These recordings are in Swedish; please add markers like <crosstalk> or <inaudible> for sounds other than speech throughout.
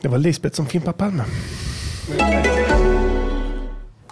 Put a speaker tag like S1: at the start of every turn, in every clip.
S1: Det var Lisbeth som fimpade Palme.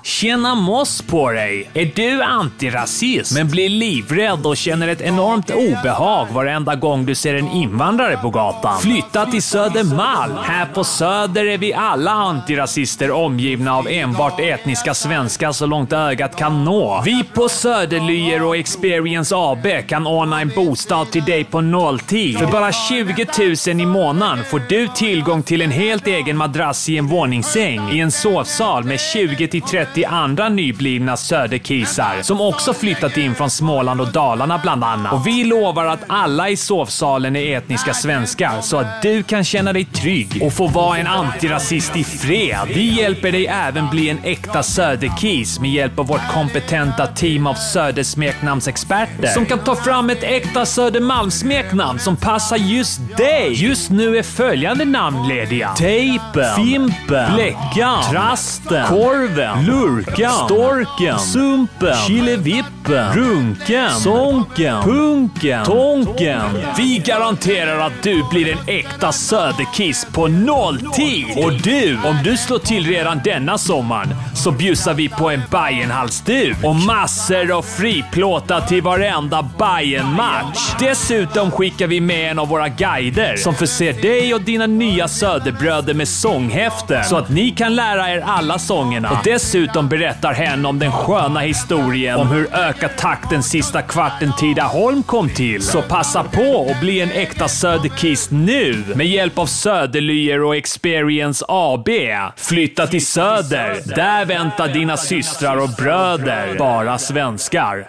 S2: Tjena moss på dig! Är du antirasist men blir livrädd och känner ett enormt obehag varenda gång du ser en invandrare på gatan? Flytta till Södermalm! Här på Söder är vi alla antirasister omgivna av enbart etniska svenskar så långt ögat kan nå. Vi på Söderlyer och Experience AB kan ordna en bostad till dig på nolltid. För bara 20 000 i månaden får du tillgång till en helt egen madrass i en våningssäng i en sovsal med 20 till 30 andra nyblivna söderkisar som också flyttat in från Småland och Dalarna bland annat. Och vi lovar att alla i sovsalen är etniska svenskar så att du kan känna dig trygg och få vara en antirasist i fred. Vi hjälper dig även bli en äkta söderkis med hjälp av vårt kompetenta team av södersmeknamnsexperter som kan ta fram ett äkta Södermalmssmeknamn som passar just dig. Just nu är följande namn lediga. Tejpen, Fimpen, Bläckan, Trasten, Korven, Lurkan, Storken, Sumpen, Killevippen, Runken, Sonken, Punken, Tonken. Vi garanterar att du blir en äkta söderkiss på nolltid! Och du, om du slår till redan denna sommaren så bjussar vi på en Bajenhalsduk och massor av friplåtar till varenda Bajenmatch. Dessutom skickar vi med en av våra guider som förser dig och dina nya söderbröder med sånghäften så att ni kan lära er alla sångerna. Och dessutom berättar hen om den sköna historien om hur öka takten sista kvarten Tidaholm kom till. Så passa på och bli en äkta söderkist nu med hjälp av Söderlyer och Experience AB. Flytta till Söder. Där väntar dina systrar och bröder. Bara svenskar.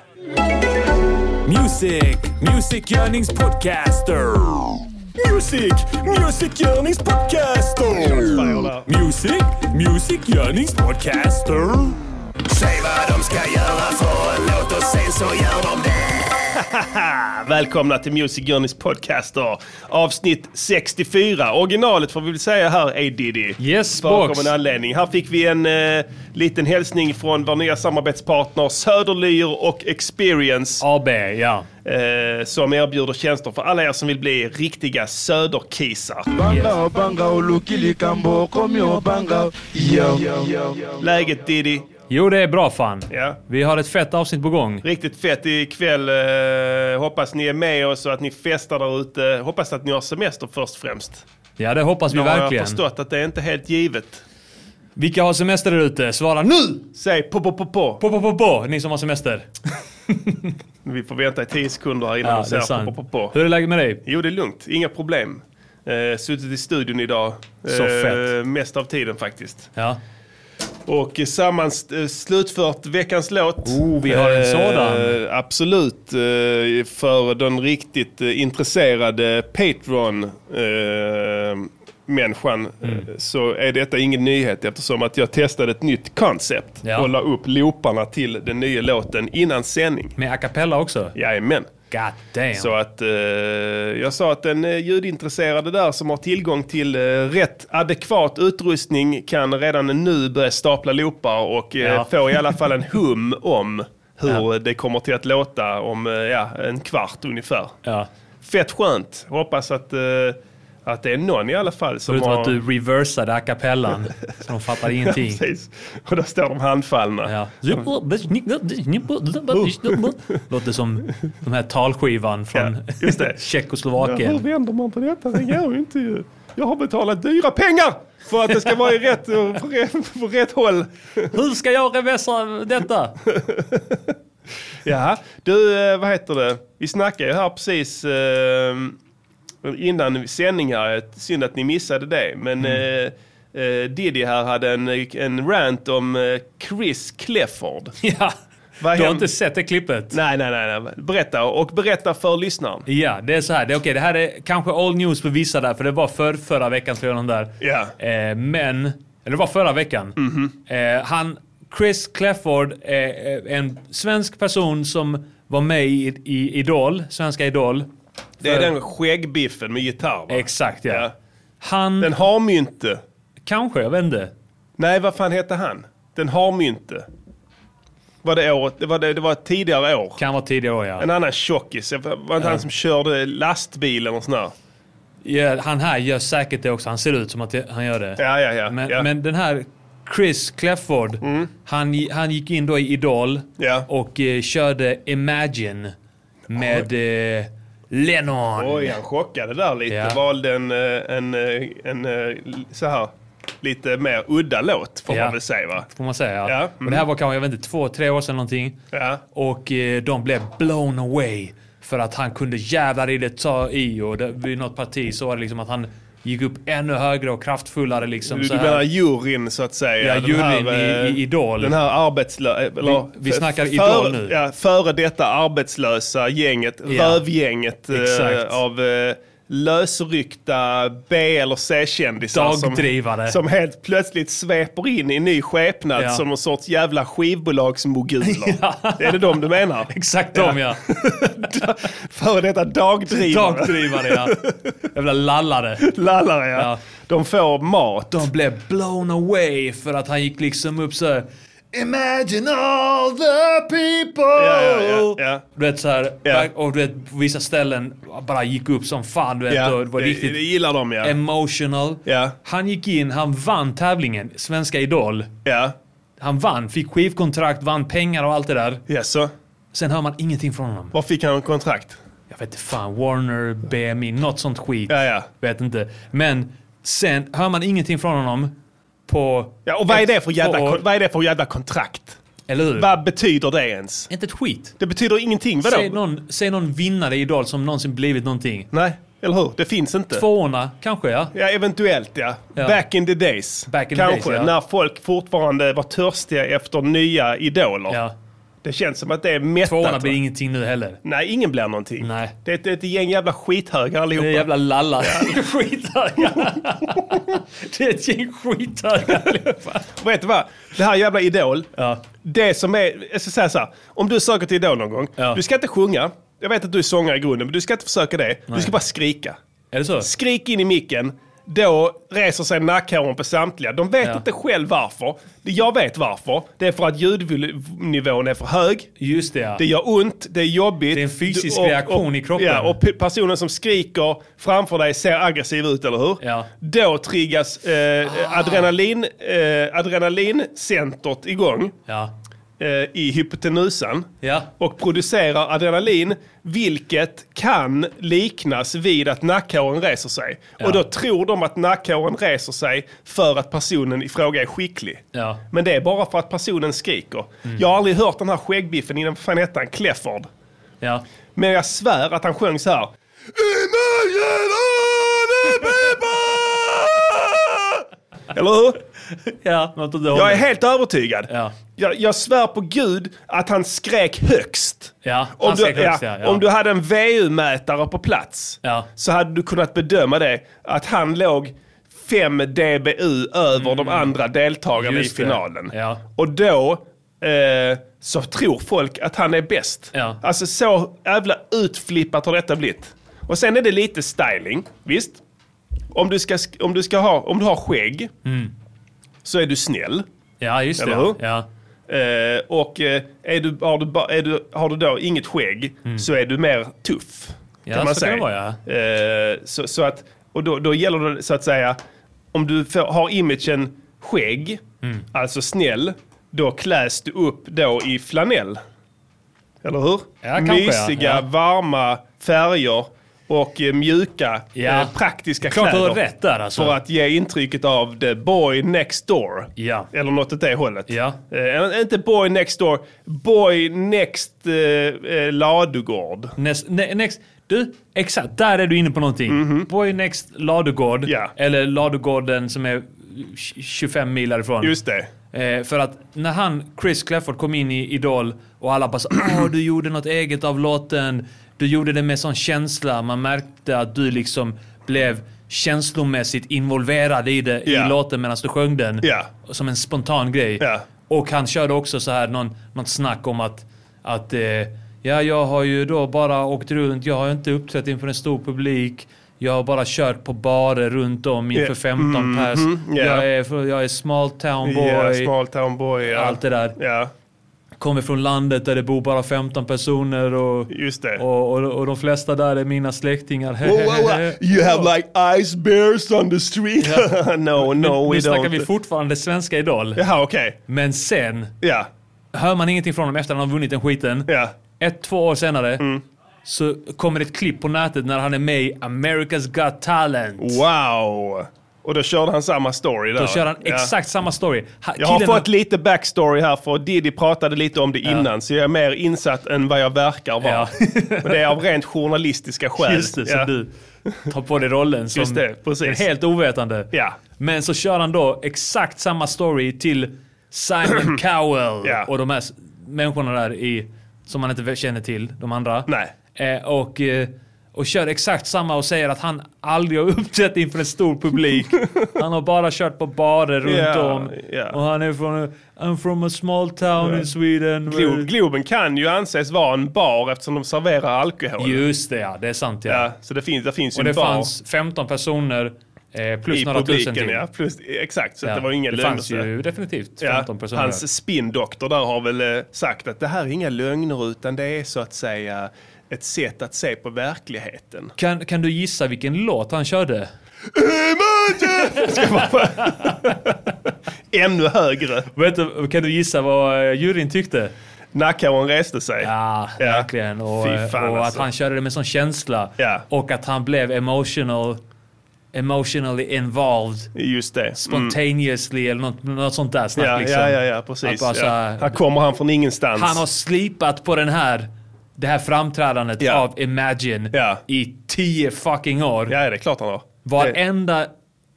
S3: Music, Music Yearnings Podcaster. Music, Music Yearnings Podcaster. Music, Music Yearnings Podcaster. Säg vad de ska göra för en låt och sen så gör de det.
S4: Välkomna till Music Journeys podcaster. Avsnitt 64. Originalet får vi väl säga här är Diddy.
S5: Yes,
S4: Bakom
S5: box.
S4: en anledning. Här fick vi en eh, liten hälsning från vår nya samarbetspartner Söderlyr och Experience.
S2: AB, ja.
S4: Eh, som erbjuder tjänster för alla er som vill bli riktiga söderkisar.
S6: banga banga olukili kambo okomi obanga yo, yo, yo.
S4: Läget Diddy?
S5: Jo, det är bra fan.
S4: Ja.
S5: Vi har ett fett avsnitt på gång.
S4: Riktigt fett ikväll. Eh, hoppas ni är med oss och att ni festar där ute. Hoppas att ni har semester först främst.
S5: Ja, det hoppas vi
S4: Nu har jag
S5: verkligen.
S4: förstått att det är inte helt givet.
S5: Vilka har semester där ute? Svara nu!
S4: Säg på på på på.
S5: På, på, på, på, ni som har semester.
S4: Vi får vänta i 10 sekunder här innan
S5: Ja,
S4: vi
S5: det är
S4: säger på,
S5: sant.
S4: på, på, på.
S5: Hur är läget med dig?
S4: Jo, det är lugnt. Inga problem. Eh, suttit i studion idag. Eh,
S5: Så fett.
S4: Mest av tiden faktiskt.
S5: Ja.
S4: Och eh, sammans eh, slutfört veckans låt. Eh,
S5: Oh, vi har en sådan.
S4: Absolut. Eh, för den riktigt eh, intresserade Patreon-människan
S5: Mm.
S4: så är detta ingen nyhet eftersom att jag testade ett nytt koncept
S5: Ja.
S4: och la upp looparna till den nya låten innan sändning.
S5: Med a cappella också?
S4: Jajamän.
S5: God damn.
S4: Så att eh, jag sa att den eh, ljudintresserade där som har tillgång till eh, rätt adekvat utrustning kan redan nu börja stapla loopar och eh,
S5: Ja.
S4: få i alla fall en hum om hur det kommer till att låta om eh, ja, en kvart ungefär.
S5: Ja.
S4: Fett skönt. Hoppas att, eh, att det är någon i alla fall som
S5: Förutom
S4: har...
S5: att du reversade
S4: <laughs>
S5: a cappellan. så de fattar ingenting.
S4: Precis. Och där står de handfallna.
S5: Ja. Låter som de här talskivan från
S4: Ja, just det. Hur
S5: <laughs> Tjeckoslovakien.
S4: vänder man på detta? Det går ju inte ju. Jag har betalat dyra pengar för att det ska vara i rätt, <laughs> på rätt, på rätt håll.
S5: Hur ska jag reversa detta?
S4: <laughs> Ja, du, eh, vad heter det? Vi snackade ju här precis eh, innan sändning här. Synd att ni missade det. Men eh, eh, Diddy här hade en, en rant om eh, Chris Clefford.
S5: Ja.
S4: <laughs> Vad
S5: Du har
S4: hem-
S5: inte sett det klippet?
S4: Nej, nej, nej, nej. Berätta. Och berätta för lyssnaren.
S5: Ja, det är så här. Det, är okej, det här är kanske all news för vissa där, för det var för, förra veckan tror jag de där.
S4: Ja. Mhm.
S5: Eh, men, eller det var förra veckan. eh, han, Chris Clefford är eh, en svensk person som var med i, i Idol, Svenska Idol.
S4: Det är den skäggbiffen med gitarr, va?
S5: Exakt ja.
S4: Ja.
S5: Han,
S4: Den har mynte.
S5: kanske, jag vet inte.
S4: Nej, vad fan hette han? Den har mynte. Var det året? Det var, det, det var ett tidigare år.
S5: Kan vara tidigare år ja.
S4: En annan tjockis. Var inte han som körde lastbil eller sån där?
S2: gör, han här gör säkert det också. Han ser ut som att det- han gör det.
S4: Ja, ja, ja.
S2: Men,
S4: ja. Mm.
S2: men den här Chris Clefford, han, gi- han gick in då i Idol
S4: Ja.
S2: och eh, körde Imagine med eh, Lennon.
S4: Oj, han chockade där lite.
S2: Ja.
S4: Valde en, eh, en, eh, en, eh, så här, lite mer udda låt får
S2: Ja.
S4: man väl säga va?
S2: Får man säga.
S4: Ja,
S2: Och det här var kanske, jag vet inte, två, tre år sedan någonting.
S4: Ja.
S2: Och eh, de blev blown away. För att han kunde jävlar i det ta i. Och det, vid något parti så var det liksom att han gick upp ännu högre och kraftfullare liksom.
S4: Du,
S2: så
S4: du
S2: här.
S4: menar juryn så att säga?
S2: Ja,
S4: Den här,
S2: juryn i-
S4: eh,
S2: i Idol.
S4: Den här arbetslösa...
S2: Vi- vi snackar Idol nu.
S4: Ja, före detta arbetslösa gänget, rövgänget eh,
S2: Exakt.
S4: av eh, lösryckta B eller C-kändisar. som-
S2: Dagdrivare.
S4: Som helt plötsligt sveper in i ny skepnad
S2: Ja.
S4: som en sorts
S2: <laughs>
S4: jävla skivbolagsmoguler. Är det dem du menar?
S2: Exakt de
S4: <laughs>
S2: ja.
S4: Före detta dagdrivare.
S2: Dagdrivare ja. Jävla lallare.
S4: <laughs> Lallare ja.
S2: Ja.
S4: De får mat.
S2: De blev blown away för att han gick liksom upp så här. Imagine all the people!
S4: Ja, ja,
S2: Oh!
S4: ja, ja.
S2: Du vet så här,
S4: Ja.
S2: och du vet på vissa ställen bara gick upp som fan du vet.
S4: Ja,
S2: Och det var
S4: det,
S2: riktigt
S4: det gillar de ja.
S2: emotional.
S4: Ja.
S2: Han gick in, han vann tävlingen, Svenska Idol.
S4: ja.
S2: Han vann, fick skivkontrakt, vann pengar och allt det där.
S4: Yes, så.
S2: Sen hör man ingenting från honom.
S4: Var fick han kontrakt?
S2: Jag vet inte fan, Warner, BMI, något sånt skit.
S4: Ja, ja.
S2: Vet inte. Men sen hör man ingenting från honom på...
S4: Ja, och vad är,
S2: ett-
S4: det för jävla,
S2: två år.
S4: kon- vad är det för jävla kontrakt?
S2: Eller hur?
S4: Vad betyder det ens?
S2: Inte ett skit.
S4: Det betyder ingenting,
S2: Säg
S4: vadå?
S2: någon, säg någon vinnare i Idol som någonsin blivit någonting.
S4: Nej, eller hur? Det finns inte.
S2: Tvåorna kanske ja.
S4: Ja, eventuellt ja.
S2: Ja.
S4: Back in the days.
S2: Back in the
S4: Kanske,
S2: days, ja.
S4: när folk fortfarande var törstiga efter nya idoler.
S2: ja.
S4: Det känns som att det är mättat.
S2: Tvåorna
S4: va?
S2: blir ingenting nu heller.
S4: Nej, ingen blir någonting.
S2: Nej.
S4: Det är ett, ett gäng jävla skithögar allihopa.
S2: Det är jävla lallar.
S4: <laughs>
S2: Skithögar. Det är ett gäng skithögar allihopa.
S4: Vet du vad? Det här jävla Idol.
S2: Ja.
S4: Det som är, jag ska säga så här, om du söker till Idol någon gång,
S2: Ja.
S4: du ska inte sjunga. Jag vet att du är sångare i grunden, men du ska inte försöka det. Du ska bara skrika.
S2: Är det så?
S4: Skrik in i micken. Då reser sig nackhåren på samtliga. De vet
S2: Ja.
S4: inte själv varför. Det- Jag vet varför. Det är för att ljudnivån är för hög.
S2: Just det ja.
S4: Det gör ont, det är jobbigt.
S2: Det är en fysisk
S4: Du- och-
S2: reaktion i kroppen.
S4: Ja, och pe- personen som skriker framför dig ser aggressiv ut, eller hur?
S2: Ja.
S4: Då triggas eh, adrenalin, eh, adrenalincentret igång
S2: Ja.
S4: eh, i hypotenusan
S2: Ja.
S4: och producerar adrenalin, vilket kan liknas vid att nackhåren reser sig. Och då tror de att nackhåren reser sig för att personen i fråga är skicklig.
S2: Ja. Mm.
S4: Men det är bara för att personen skriker. Jag har aldrig hört den här skäggbiffen innan, vad fan hette han? Clefford.
S2: Ja.
S4: Men jag svär att han sjöng
S2: <laughs>
S4: så här. Imagine all the people! Eller hur?
S2: Ja, något åt det
S4: Jag är
S2: hållet.
S4: helt övertygad.
S2: Ja.
S4: Jag, jag svär på gud att han skrek högst.
S2: Ja,
S4: Om,
S2: han
S4: du,
S2: skrek högst,
S4: ja,
S2: ja, ja.
S4: om du hade en VU-mätare på plats
S2: Ja.
S4: så hade du kunnat bedöma det att han låg 5 dBU över de andra deltagarna
S2: Mm. Just
S4: i
S2: det.
S4: finalen.
S2: Ja.
S4: Och då eh, så tror folk att han är bäst.
S2: Ja.
S4: Alltså så jävla utflippat har detta blivit. Och sen är det lite styling, visst? Om du, ska, sk- om du, ska ha, om du har skägg
S2: Mm.
S4: så är du snäll.
S2: Ja, just det.
S4: Eller hur?
S2: Ja. Ja.
S4: Eh, och eh, är du, har, du, ba- är du, har du då inget skägg så är du mer tuff.
S2: Mm. Ja,
S4: kan man
S2: så
S4: säga.
S2: kan det vara,
S4: Eh, så, så att, och då, då gäller det så att säga, om du får, har imagen skägg,
S2: Mm.
S4: alltså snäll, då kläs du upp då i flanell. Eller hur?
S2: kanske,
S4: Mysiga,
S2: ja.
S4: varma färger och eh, mjuka,
S2: Ja.
S4: eh, praktiska
S2: Klart du
S4: kläder.
S2: har rätt där alltså.
S4: För att ge intrycket av the boy next door.
S2: Ja.
S4: Eller något åt det hållet.
S2: Ja.
S4: Eh, inte boy next door, boy next eh, eh, ladugård.
S2: Näst, ne, next, du, exakt, där är du inne på någonting. Boy Next ladugård,
S4: Mhm. Ja.
S2: eller ladugården som är 25 mil därifrån.
S4: Just det.
S2: Eh, för att när han, Chris Clafford, kom in i Idol och alla bara så, åh du gjorde något eget av låten. Du gjorde det med sån känsla. Man märkte att du liksom blev känslomässigt involverad i det
S4: Ja.
S2: i låten medan du sjöng den.
S4: Ja.
S2: Som en spontan grej.
S4: Ja.
S2: Och han körde också så här någon, något snack om att, att eh, ja, jag har ju då bara åkt runt. Jag har inte uppträtt inför en stor publik. Jag har bara kört på barer runt om inför
S4: Ja. Mm-hmm.
S2: 15 pers.
S4: ja.
S2: Jag, är, jag är small town boy.
S4: Yeah, small town boy. Ja.
S2: Allt det där.
S4: Ja.
S2: kommer från landet där det bor bara 15 personer och,
S4: Just det.
S2: och, och, och de flesta där är mina släktingar. <laughs>
S4: Whoa, whoa, whoa. You have like ice bears on the street. <laughs> no, no, we
S2: nu snackar
S4: don't.
S2: vi fortfarande svenska Idol.
S4: Jaha, okej.
S2: Men sen
S4: Ja,
S2: hör man ingenting från dem efter att han har vunnit den skiten.
S4: ja. Mm.
S2: Ett, två år senare så kommer ett klipp på nätet när han är med i America's Got Talent.
S4: Wow. Och då körde han samma story där.
S2: Då kör han
S4: Ja.
S2: exakt samma story. Ha-
S4: Jag har
S2: killen-
S4: fått lite backstory här för Diddy pratade lite om det innan så jag är mer insatt än vad jag verkar vara.
S2: Ja.
S4: <laughs> Men det är av rent journalistiska skäl.
S2: Just det, så
S4: ja.
S2: du tar på dig rollen som
S4: Just det, precis.
S2: en helt ovetande.
S4: Ja.
S2: Men så kör han då exakt samma story till
S4: <clears throat>
S2: Simon Cowell
S4: Ja.
S2: och de här s- människorna där i, som han inte känner till, de andra.
S4: Nej.
S2: Eh, och, eh, och kör exakt samma och säger att han aldrig har <laughs> uppträtt inför en stor
S4: <laughs>
S2: publik. han har bara kört på barer runt
S4: Ja,
S2: om.
S4: ja.
S2: Och han är från, I'm from a small town in Sweden.
S4: Glo- Globen kan ju anses vara en bar eftersom de serverar alkohol.
S2: Just det ja, det är sant ja.
S4: Ja, så det finns, det finns ju
S2: Och
S4: en
S2: det
S4: bar
S2: fanns 15 personer eh, plus
S4: i
S2: några
S4: publiken.
S2: tusen till.
S4: Ja, plus, exakt, så
S2: Ja,
S4: att det var ju inga
S2: det
S4: lögner.
S2: fanns ju definitivt
S4: Ja,
S2: 15 personer.
S4: Hans spindoktor där har väl eh, sagt att det här är inga lögner utan det är så att säga ett sätt att se på verkligheten.
S2: Kan, kan du gissa vilken låt han körde?
S4: <laughs> Ännu högre.
S2: Vet du, kan du gissa vad eh, juryn tyckte?
S4: Nackhåren reste sig.
S2: Ja,
S4: Ja.
S2: verkligen. Och,
S4: Fy fan,
S2: och att
S4: alltså.
S2: han körde det med sån känsla.
S4: Ja.
S2: Och att han blev emotional, emotionally involved.
S4: Just det. Mm.
S2: Spontaneously eller något, något sånt där snack
S4: Ja,
S2: liksom.
S4: ja, ja, ja,
S2: Att
S4: precis.
S2: bara så
S4: ja.
S2: här-
S4: Här kommer han från ingenstans.
S2: Han har slipat på den här, det här framträdandet
S4: Ja.
S2: av Imagine
S4: Ja.
S2: i tio fucking år.
S4: Ja, det är klart han har. Det-
S2: Varenda,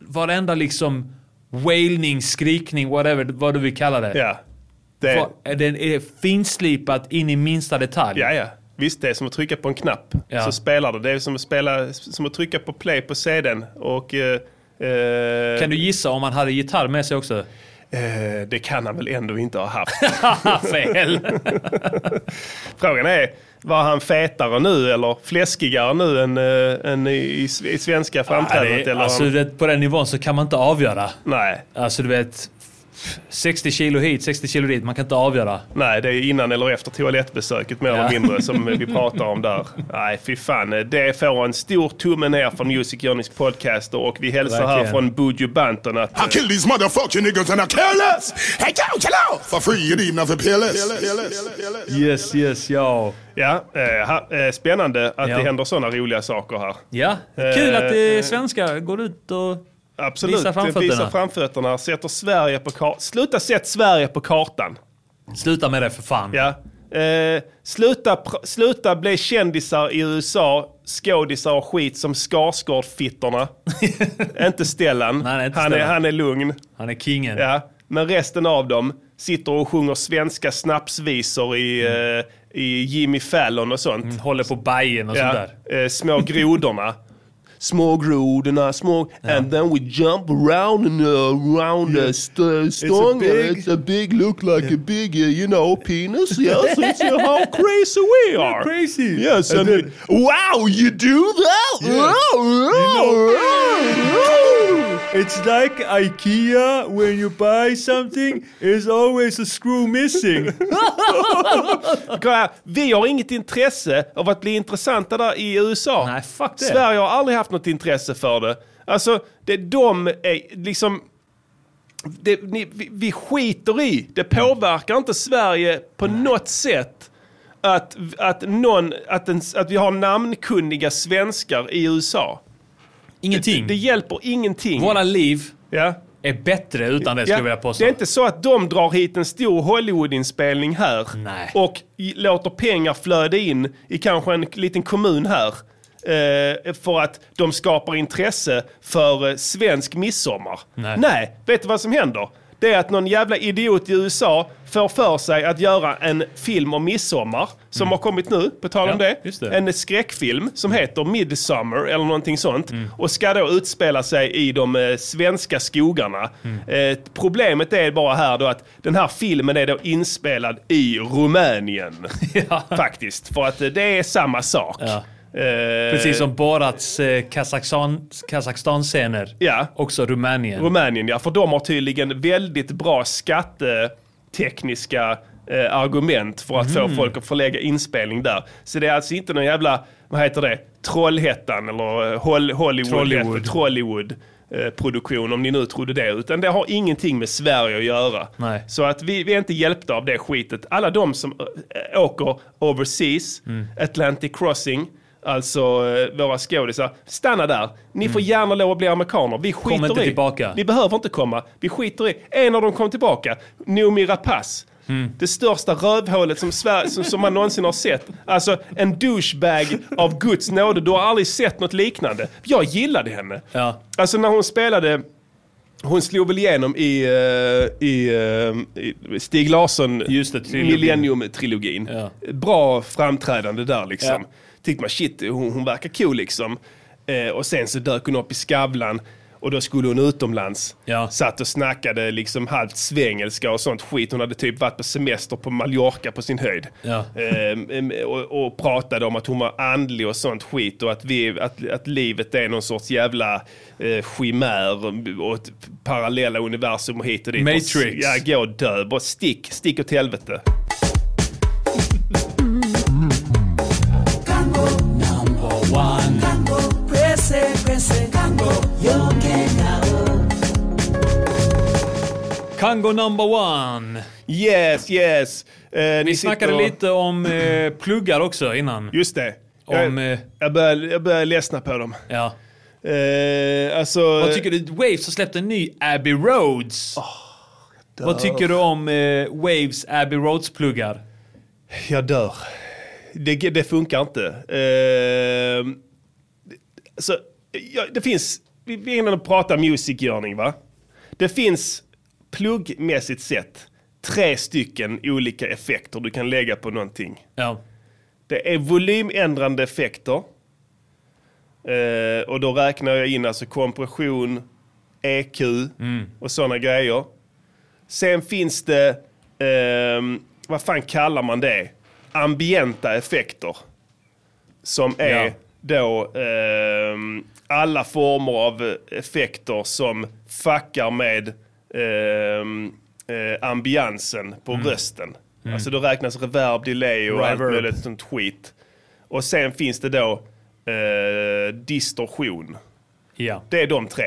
S2: varenda liksom wailning, skrikning, whatever, vad du vill kalla det.
S4: Ja. Det,
S2: Var, den är finslipat in i minsta detalj.
S4: ja, ja. Visst, det är som att trycka på en knapp
S2: Ja.
S4: så spelar det. Det är som att, spela, som att trycka på play på CDn. Och, eh, eh,
S2: Kan du gissa om han hade gitarr med sig också?
S4: eh, det kan han väl ändå inte ha haft. <laughs>
S2: Haha, Fel!
S4: Frågan är, var han fetare nu eller fläskigare nu än, eh, än i, i, i svenska framträdandet?
S2: det,
S4: eller
S2: alltså,
S4: han,
S2: det, på den nivån så kan man inte avgöra.
S4: nej,
S2: Alltså du vet, 60 kilo hit, 60 kilo dit, man kan inte avgöra.
S4: nej, det är innan eller efter toalettbesöket mer eller mindre som
S2: <laughs>
S4: vi pratar om där. Nej, fy fan. Det får en stor tumme ner från Music Journeys podcaster och vi hälsar här
S2: Verkligen.
S4: från Buju Banton att eh,
S7: I kill these motherfucking niggas and I kill us. Hey, yo, kill out. For free, you need nothing peerless.
S2: Yes, yes, ja.
S4: Ja, eh, ha, eh, spännande att
S2: Ja.
S4: det händer sådana roliga saker här.
S2: Ja, kul att
S4: Eh.
S2: det är svenska går ut och...
S4: Absolut. eh,
S2: Visa framfötterna.
S4: Visa framfötterna. Sätter Sverige på kartan. Sluta sätt Sverige på kartan.
S2: Sluta med det för fan.
S4: Ja. Eh, sluta, pr- sluta bli kändisar i USA, skådisar och skit som Skarsgård-fittorna.
S2: <laughs>
S4: inte Stellan.
S2: Nej, nej, inte
S4: han, är,
S2: Stellan.
S4: han är lugn.
S2: <laughs> Han är kingen.
S4: Ja. Men resten av dem sitter och sjunger svenska snapsvisor i,
S2: Mm.
S4: eh, i Jimmy Fallon och sånt.
S2: Håller på Bajen och sånt där.
S4: Eh, små grodorna. små grodorna, små... And then we jump around and uh, around the st- stång.
S7: big-
S4: It's a big look like a big, uh, you know, penis. Yes, it's uh, how crazy
S7: <laughs>
S4: we are.
S7: crazy.
S4: Yes, and,
S7: And
S4: it- wow, you do that? Wow,
S2: It's like IKEA when you buy something is always a screw missing.
S4: <laughs> Kolla, Vi har inget intresse av att bli intressanta där i USA.
S2: Nej, fuck det.
S4: Sverige har aldrig haft något intresse för det. Alltså, det, de är liksom... Det, ni, vi, vi skiter i, det påverkar inte Sverige på något sätt att, att, någon, att, en, att vi har namnkunniga svenskar i USA.
S2: Ingenting.
S4: Det hjälper ingenting.
S2: Våra liv
S4: Ja.
S2: är bättre utan det skulle
S4: Ja,
S2: jag vilja påstå.
S4: det är inte så att de drar hit en stor Hollywood-inspelning här
S2: Nej.
S4: och i- låter pengar flöda in i kanske en liten kommun här eh, för att de skapar intresse för eh, svensk midsommar.
S2: Nej.
S4: vet du vad som händer? Det är att någon jävla idiot i USA får för sig att göra en film om midsommar som har kommit nu, på tal om
S2: Mm. Ja,
S4: det.
S2: just det.
S4: En en skräckfilm som heter Midsummer eller någonting sånt och ska då utspela sig i de eh, svenska skogarna. Eh, problemet är bara här då att den här filmen är då inspelad i Rumänien. Faktiskt, för att eh, det är samma sak.
S2: Ja.
S4: Eh,
S2: Precis som Borats eh, Kazakstan, Kazakstan-scener.
S4: Ja.
S2: Också Rumänien.
S4: Rumänien ja, för de har tydligen väldigt bra skattetekniska eh, argument för att
S5: Mm.
S4: få folk att förlägga inspelning där. Så det är alltså inte någon jävla, vad heter det, Trollhättan eller eh, Hol- Hollywood,
S5: Trollywood.
S4: Trollywood eh, produktion om ni nu trodde det. Utan det har ingenting med Sverige att göra.
S5: Nej.
S4: Så att vi, vi är inte hjälpta av det skitet. Alla de som eh, åker overseas,
S5: Mm.
S4: Atlantic crossing, alltså eh, våra skådisar, stanna där. Ni får
S5: Mm.
S4: gärna lov att bli amerikaner. Vi skiter
S5: inte
S4: i.
S5: tillbaka.
S4: Ni behöver inte komma. Vi skiter i. En av dem kom tillbaka, Noomi Rapace.
S5: Mm.
S4: Det största rövhålet som, Sver- som, som man någonsin har sett. Alltså en douchebag av Guds nåde. Du har aldrig sett något liknande. Jag gillade henne.
S5: Ja.
S4: Alltså när hon spelade hon slog väl igenom i, eh, i, eh, i Stig Larsson
S5: Just det, trilogin.
S4: Millennium-trilogin.
S5: Ja.
S4: Bra framträdande där liksom.
S5: Ja.
S4: Tyckte man shit, hon, hon verkar cool liksom. Eh, och sen så dök hon upp i Skavlan och då skulle hon utomlands.
S5: Ja.
S4: Satt och snackade liksom halvt svengelska och sånt skit. Hon hade typ varit på semester på Mallorca på sin höjd.
S5: Ja.
S4: Ehm, em, och, och pratade om att hon var andlig och sånt skit och att, vi, att, att livet är någon sorts jävla eh, chimär och ett parallella universum och hit och dit.
S5: Matrix.
S4: Och, s- ja, gå och dö. Bara stick, stick åt helvete.
S5: Kango number one.
S4: Yes, yes. Eh,
S5: Vi snackade lite om eh, pluggar också innan.
S4: Just det.
S5: Om,
S4: jag,
S5: eh,
S4: jag, börjar, jag börjar ledsna på dem.
S5: Ja.
S4: Eh, Oh, alltså...
S5: Vad tycker du? Waves har släppt en ny Abbey Roads. Vad tycker du om eh, Waves Abbey Roads-pluggar?
S4: Jag dör. Det, det funkar inte. Eh, så, ja, det finns, vi vi är inne och pratar musikgörning va? Det finns pluggmässigt sett tre stycken olika effekter du kan lägga på någonting.
S5: Ja.
S4: Det är volymändrande effekter. Eh, och då räknar jag in alltså kompression, EQ och sådana grejer. Sen finns det, ehm, vad fan kallar man det? Ambienta effekter. Som är
S5: Ja.
S4: då ehm, alla former av effekter som fuckar med ehm, eh, ambiansen på rösten. Alltså då räknas reverb, delay och allt
S5: Reverb.
S4: möjligt sånt skit. Och sen finns det då eh, distorsion.
S5: Ja.
S4: Det är de tre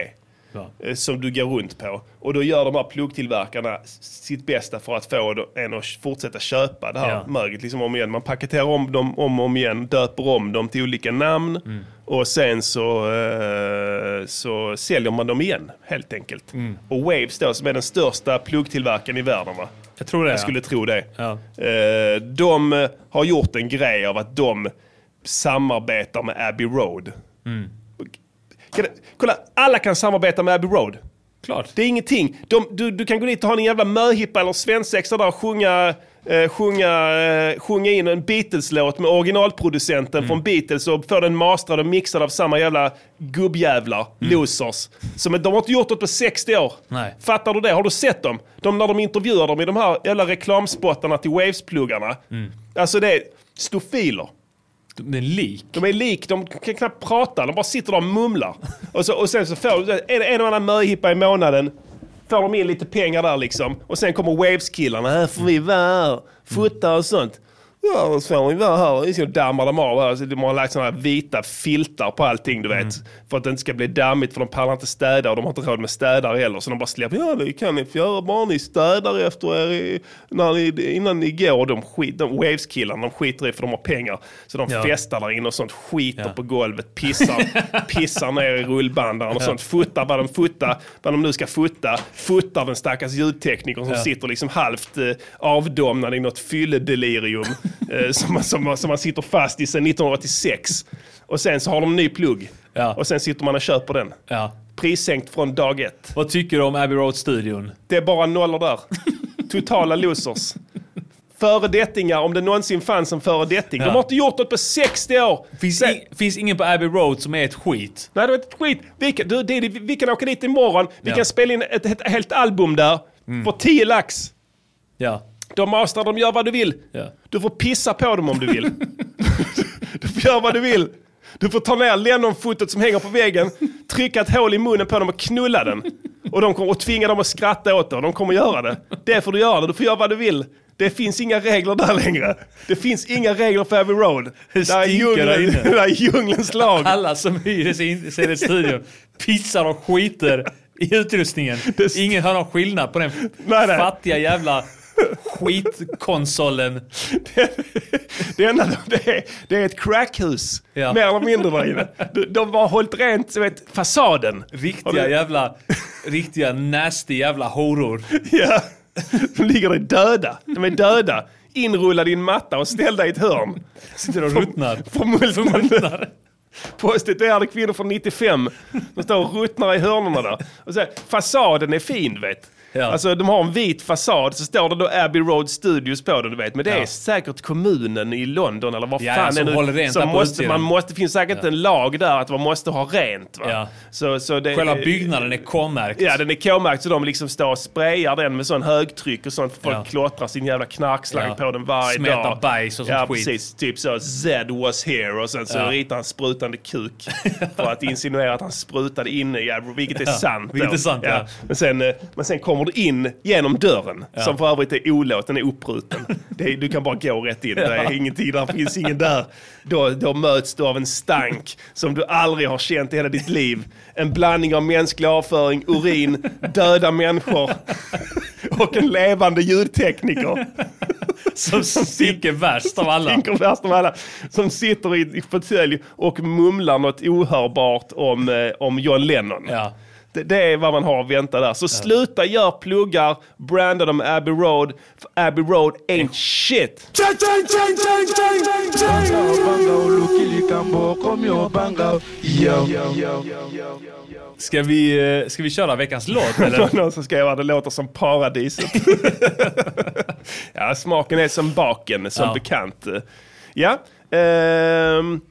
S5: Ja.
S4: eh, som du går runt på. Och då gör de här pluggtillverkarna s- sitt bästa för att få en att fortsätta köpa det här
S5: Ja.
S4: möget. Liksom om igen. Man paketerar om dem om och om igen, döper om dem till olika namn och sen så, eh, så säljer man dem igen helt enkelt. Och Waves då, som är den största pluggtillverkaren i världen va?
S5: Jag tror det.
S4: Jag skulle tro det.
S5: Ja.
S4: Eh, De eh, har gjort en grej av att de samarbetar med Abbey Road.
S5: Mm.
S4: Kan, kolla, alla kan samarbeta med Abbey Road.
S5: Klart.
S4: Det är ingenting. De, du, du kan gå dit och ha en jävla möhippa eller svensexa där och sjunga, eh, sjunga, eh, sjunga in en Beatles-låt med originalproducenten från Beatles och få den mastrad och mixad av samma jävla gubbjävlar, losers. Som, de har inte gjort något på 60 år.
S5: Nej.
S4: Fattar du det? Har du sett dem? De, när de intervjuar dem i de här jävla reklamspottarna till Waves-pluggarna. Alltså det är stofiler.
S5: Det är lik.
S4: De är lik, de kan knappt prata, de bara sitter där och mumlar. Och, så, och sen så får de en, en och annan möhippa i månaden, får de in lite pengar där liksom. Och sen kommer Waves-killarna, här får vi vara här, fota och sånt. Ja, då får vi vara här. Så dammar de av här. Så de har lagt sådana här vita filtar på allting, du vet. För att det inte ska bli dammigt, för de pallar inte städa och de har inte råd med städare heller. Så de bara släpper, ja det kan ni få göra, bara ni städar efter er i, när ni, innan ni går. De, skit, de Waves-killarna, de skiter i för de har pengar. Så de
S5: Ja.
S4: festar festar där inne och sånt, skiter
S5: Ja.
S4: på golvet,
S5: <laughs>
S4: pissar, pissar ner i rullbandaren och sånt, fotar vad de, fotar, vad de nu ska fota, fotar den stackars ljudteknikern som
S5: Ja.
S4: sitter liksom halvt eh, avdomnad i något
S5: <laughs>
S4: fylledelirium eh, som, man- som, man- som man sitter fast i sedan 1986. Och sen så har de ny plugg
S5: Ja.
S4: och sen sitter man och köper den.
S5: Ja.
S4: Prissänkt från dag ett.
S5: Vad tycker du om Abbey Road-studion?
S4: Det är bara nollor där. Totala losers. Föredettingar, om det någonsin fanns en föredetting. De har inte gjort något på 60 år.
S5: Finns,
S4: Sen-
S5: i, finns ingen på Abbey Road som är ett skit?
S4: Nej, det var ett skit. Vi kan, du, Didi, vi- vi kan åka dit imorgon. Vi
S5: Ja. Mm.
S4: kan spela in ett, ett helt album där. För 10 lax.
S5: Ja.
S4: De mastrar, de gör vad du vill.
S5: Ja.
S4: Du får pissa på dem om du vill. <laughs> du får göra vad du vill. Du får ta ner Lennon-fotot som hänger på väggen, trycka ett hål i munnen på dem och knulla den. Och de kommer att tvinga dem att skratta åt det och de kommer göra det. Det får du göra, du får göra vad du vill. Det finns inga regler där längre. Det finns inga regler för Abbey Road.
S2: Det
S4: där är
S2: stinker där
S4: djungeln,
S2: inne.
S4: <laughs> där är djungelns lag.
S2: Alla som hyr sin- sin studion pissar och skiter i utrustningen. Ingen hör någon skillnad på den
S4: Nej, nej.
S2: fattiga jävla skitkonsolen.
S4: Det, enda, de- det, är, det är ett crackhus,
S2: Ja.
S4: mer eller mindre där inne. De, de har hållit rent du vet, fasaden. Har
S2: Riktiga
S4: du-
S2: jävla, riktiga nasty jävla horor.
S4: <laughs> Ja. De ligger där döda. De är döda. Inrullade i en matta och ställda i ett hörn.
S2: Sitter och ruttnar.
S4: Förmultnade. Prostituerade kvinnor från 95. De står och ruttnar i hörnorna där. Och så här, fasaden är fin vet.
S2: Ja.
S4: Alltså de har en vit fasad så står det då Abbey Road Studios på den du vet. Men det är
S2: Ja.
S4: säkert kommunen i London eller vad
S2: Ja,
S4: fan
S2: ja, som
S4: det nu-
S2: håller rent
S4: som
S2: där på
S4: måste,
S2: utsidan.
S4: man måste, Det finns säkert en lag där att man måste ha rent. Va?
S2: Ja.
S4: Så, så det,
S2: Själva byggnaden är K-märkt.
S4: Ja, den är K-märkt så de liksom står och sprayar den med sån högtryck och sånt. Folk
S2: Ja.
S4: klottrar sin jävla knarkslang
S2: Ja.
S4: på den varje
S2: Smetar
S4: dag.
S2: bajs och sånt
S4: ja,
S2: skit.
S4: precis. Typ så Z was here och sen så
S2: Ja.
S4: ritar han sprutande kuk för att insinuera att han sprutade inne i Abbey vilket är
S2: Ja,
S4: sant. då.
S2: vilket är sant, ja.
S4: Men, sen, eh, men sen kommer du in genom dörren,
S2: Ja.
S4: som för övrigt är olåst, den är uppbruten. Det är, du kan bara gå rätt in, det är ingenting, där finns ingen där. Då, då möts du av en stank som du aldrig har känt i hela ditt liv. En blandning av mänsklig avföring, urin, döda människor
S2: <laughs>
S4: och en levande ljudtekniker.
S2: Som stinker värst av
S4: <laughs>
S2: alla.
S4: Tänker värst av alla. Som sitter i i fåtölj och mumlar något ohörbart om, eh, om John Lennon.
S2: Ja.
S4: Det, det är vad man har att vänta där. Så sluta gör pluggar, branda dem Abbey Road, för Abbey Road ain't shit.
S2: <laughs>
S8: obanga olukili kambo komi obanga yo
S2: Ska vi, eh, ska vi köra veckans låt eller?
S4: <laughs> Någon- Någon som skrev att det låter
S2: <laughs>
S4: som paradiset. ja, smaken är som baken, som
S2: Ja.
S4: bekant. Ja, ehm,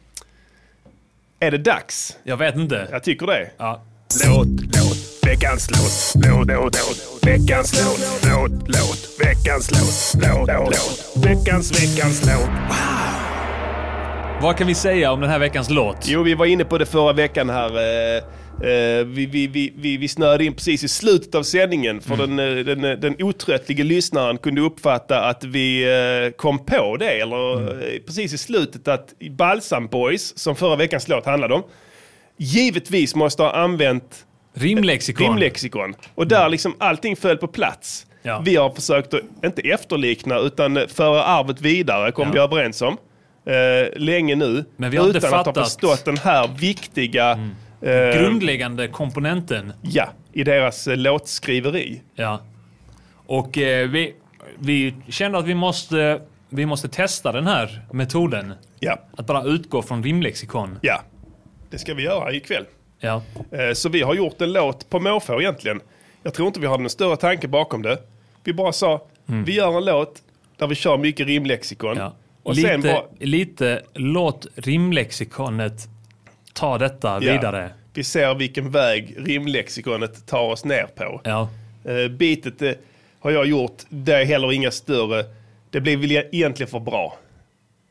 S4: är det dags?
S2: Jag vet inte.
S4: Jag tycker det.
S2: Ja.
S7: Låt, låt, veckans låt, låt, låt, låt, veckans låt, låt, låt, veckans låt, låt, låt, veckans, veckans låt.
S2: Vad kan vi säga om den här veckans låt?
S4: Jo, vi var inne på det förra veckan här. eh, eh, Vi, vi, vi, vi, vi snöade in precis i slutet av sändningen för den, eh, den, eh, den otröttlige lyssnaren kunde uppfatta att vi eh, kom på det, eller eh, precis i slutet att i Balsam Boys, som förra veckans låt handlade om, givetvis måste ha använt
S2: Rimlexikon.
S4: rimlexikon. Och där liksom allting föll på plats.
S2: Mm. Ja.
S4: Vi har försökt att, inte efterlikna, utan eh, föra arvet vidare, kom
S2: Ja.
S4: vi överens om. Eh, länge nu.
S2: Men vi har inte
S4: utan att ha
S2: fattat- Mm.
S4: förstått den här viktiga... eh,
S2: Grundläggande komponenten.
S4: ja, i deras eh, låtskriveri.
S2: Ja. Och eh, vi, vi kände att vi måste, vi måste testa den här metoden.
S4: Ja.
S2: Att bara utgå från rimlexikon.
S4: ja, det ska vi göra ikväll.
S2: Ja.
S4: Eh, Så vi har gjort en låt på måfå egentligen. Jag tror inte vi hade någon större tanke bakom det. Vi bara sa, vi gör en låt där vi kör mycket rimlexikon.
S2: Mm. ja.
S4: Och
S2: lite,
S4: sen bara,
S2: lite låt rimlexikonet ta detta
S4: Ja.
S2: vidare.
S4: Vi ser vilken väg rimlexikonet tar oss ner på.
S2: Ja.
S4: Eh, bitet eh, har jag gjort, det är heller inga större. Det blev väl e- egentligen för bra.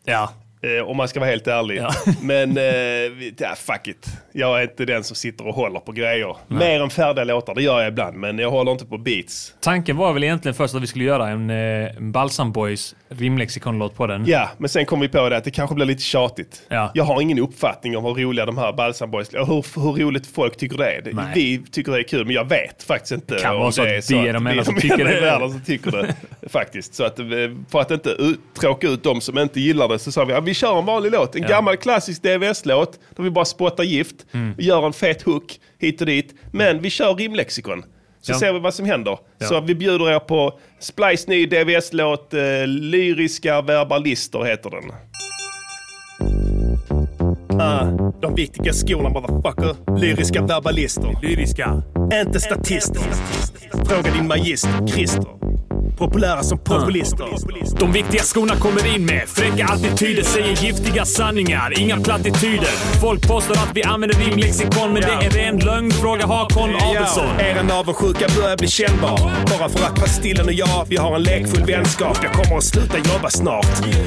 S2: Ja.
S4: eh, om man ska vara helt ärlig.
S2: Ja.
S4: <laughs> Men eh, vi- ja, fuck it. Jag är inte den som sitter och håller på grejer. Mer än färdiga låtar, det gör jag ibland. Men jag håller inte på beats.
S2: Tanken var väl egentligen först att vi skulle göra en, eh, en Balsam Boys rimlexikonlåt på den.
S4: Ja, men sen kom vi på det att det kanske blir lite tjatigt.
S2: Ja.
S4: Jag har ingen uppfattning om hur roliga de här Balsam Boys, och hur, hur roligt folk tycker det är. Det-
S2: Nej.
S4: Vi tycker det är kul, men jag vet faktiskt inte.
S2: kan
S4: om
S2: vara så att vi är de
S4: vi
S2: enda som
S4: de
S2: tycker
S4: enda i
S2: det.
S4: världen som tycker det. <laughs> faktiskt. Så att, eh, för att inte ut, tråka ut de som inte gillar det så sa vi att vi kör en vanlig låt. En gammal klassisk DVS-låt där vi bara spottar gift,
S2: Mm.
S4: vi gör en fet hook hit och dit. Men vi kör rimlexikon. Så
S2: Ja.
S4: ser vi vad som händer. Så vi bjuder er på Splice ny DVS-låt, eh, Lyriska verbalister heter den.
S7: Ah,
S4: De viktiga skorna motherfucker. Lyriska verbalister. Lyriska. Inte statister. Fråga din magister, Christer.
S7: populära som populister.
S2: De viktiga skorna kommer in med. Fräcka attityder säger giftiga sanningar. Inga plattityder. Folk påstår att vi använder rimlexikon, men det är ren lögn. Fråga Hakon Abelsson.
S7: Ja, eran avundsjuka börjar bli kännbar. Bara för att Pastillen och jag, vi har en lekfull vänskap. Jag kommer att sluta jobba snart.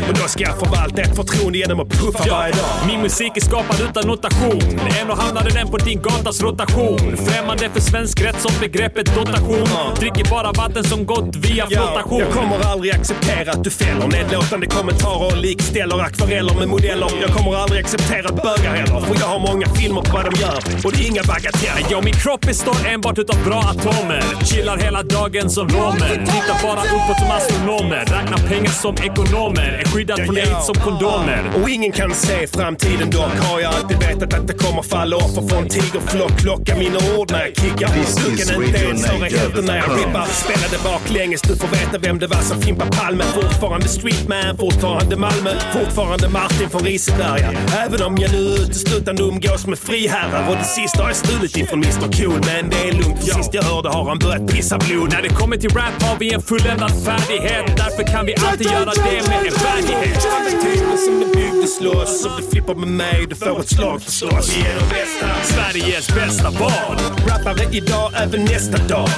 S7: Och då ska jag förvalta ett förtroende genom att puffa varje dag.
S2: Min musik är skapad utan notation. Ändå hamnade den på din gatas rotation. Främmande för svensk rätt som begreppet dotation. Dricker bara vatten som gått via
S7: Ja,
S2: flottation.
S7: jag kommer aldrig acceptera att du fäller nedlåtande kommentarer och likställer akvareller med modeller. Jag kommer aldrig acceptera bögar heller, för jag har många filmer på vad de gör. Och det är inga bagateller.
S2: Ja, min kropp består enbart utav bra atomer. Chillar hela dagen som romer. Tittar bara uppåt som astronomer. Räknar pengar som ekonomer. Är skyddad från aids som kondomer.
S7: Och ingen kan se framtiden dock Har jag alltid vetat att det kommer falla offer från tigerflock Klocka mina ord när jag kickar Duken inte ens har hälften när jag rippar Spelade baklänges, du får veta vem det var som fimpade Palme Fortfarande streetman, fortfarande Malmö Fortfarande Martin från Riseberga Även om jag nu uteslutande umgås med friherrar Och det sista har jag stulit ifrån Mr Cool Men det är lugnt, för sist jag hörde har han börjat pissa blod
S2: När det kommer till rap har vi en fulländad färdighet. Därför kan vi alltid göra det med en värdighet.
S7: Typen som det byggdes loss Om du flippar med mig, du får ett slag förstås Vi är de bästa
S2: Sveriges bästa barn.
S7: Rappare idag, även nästa dag.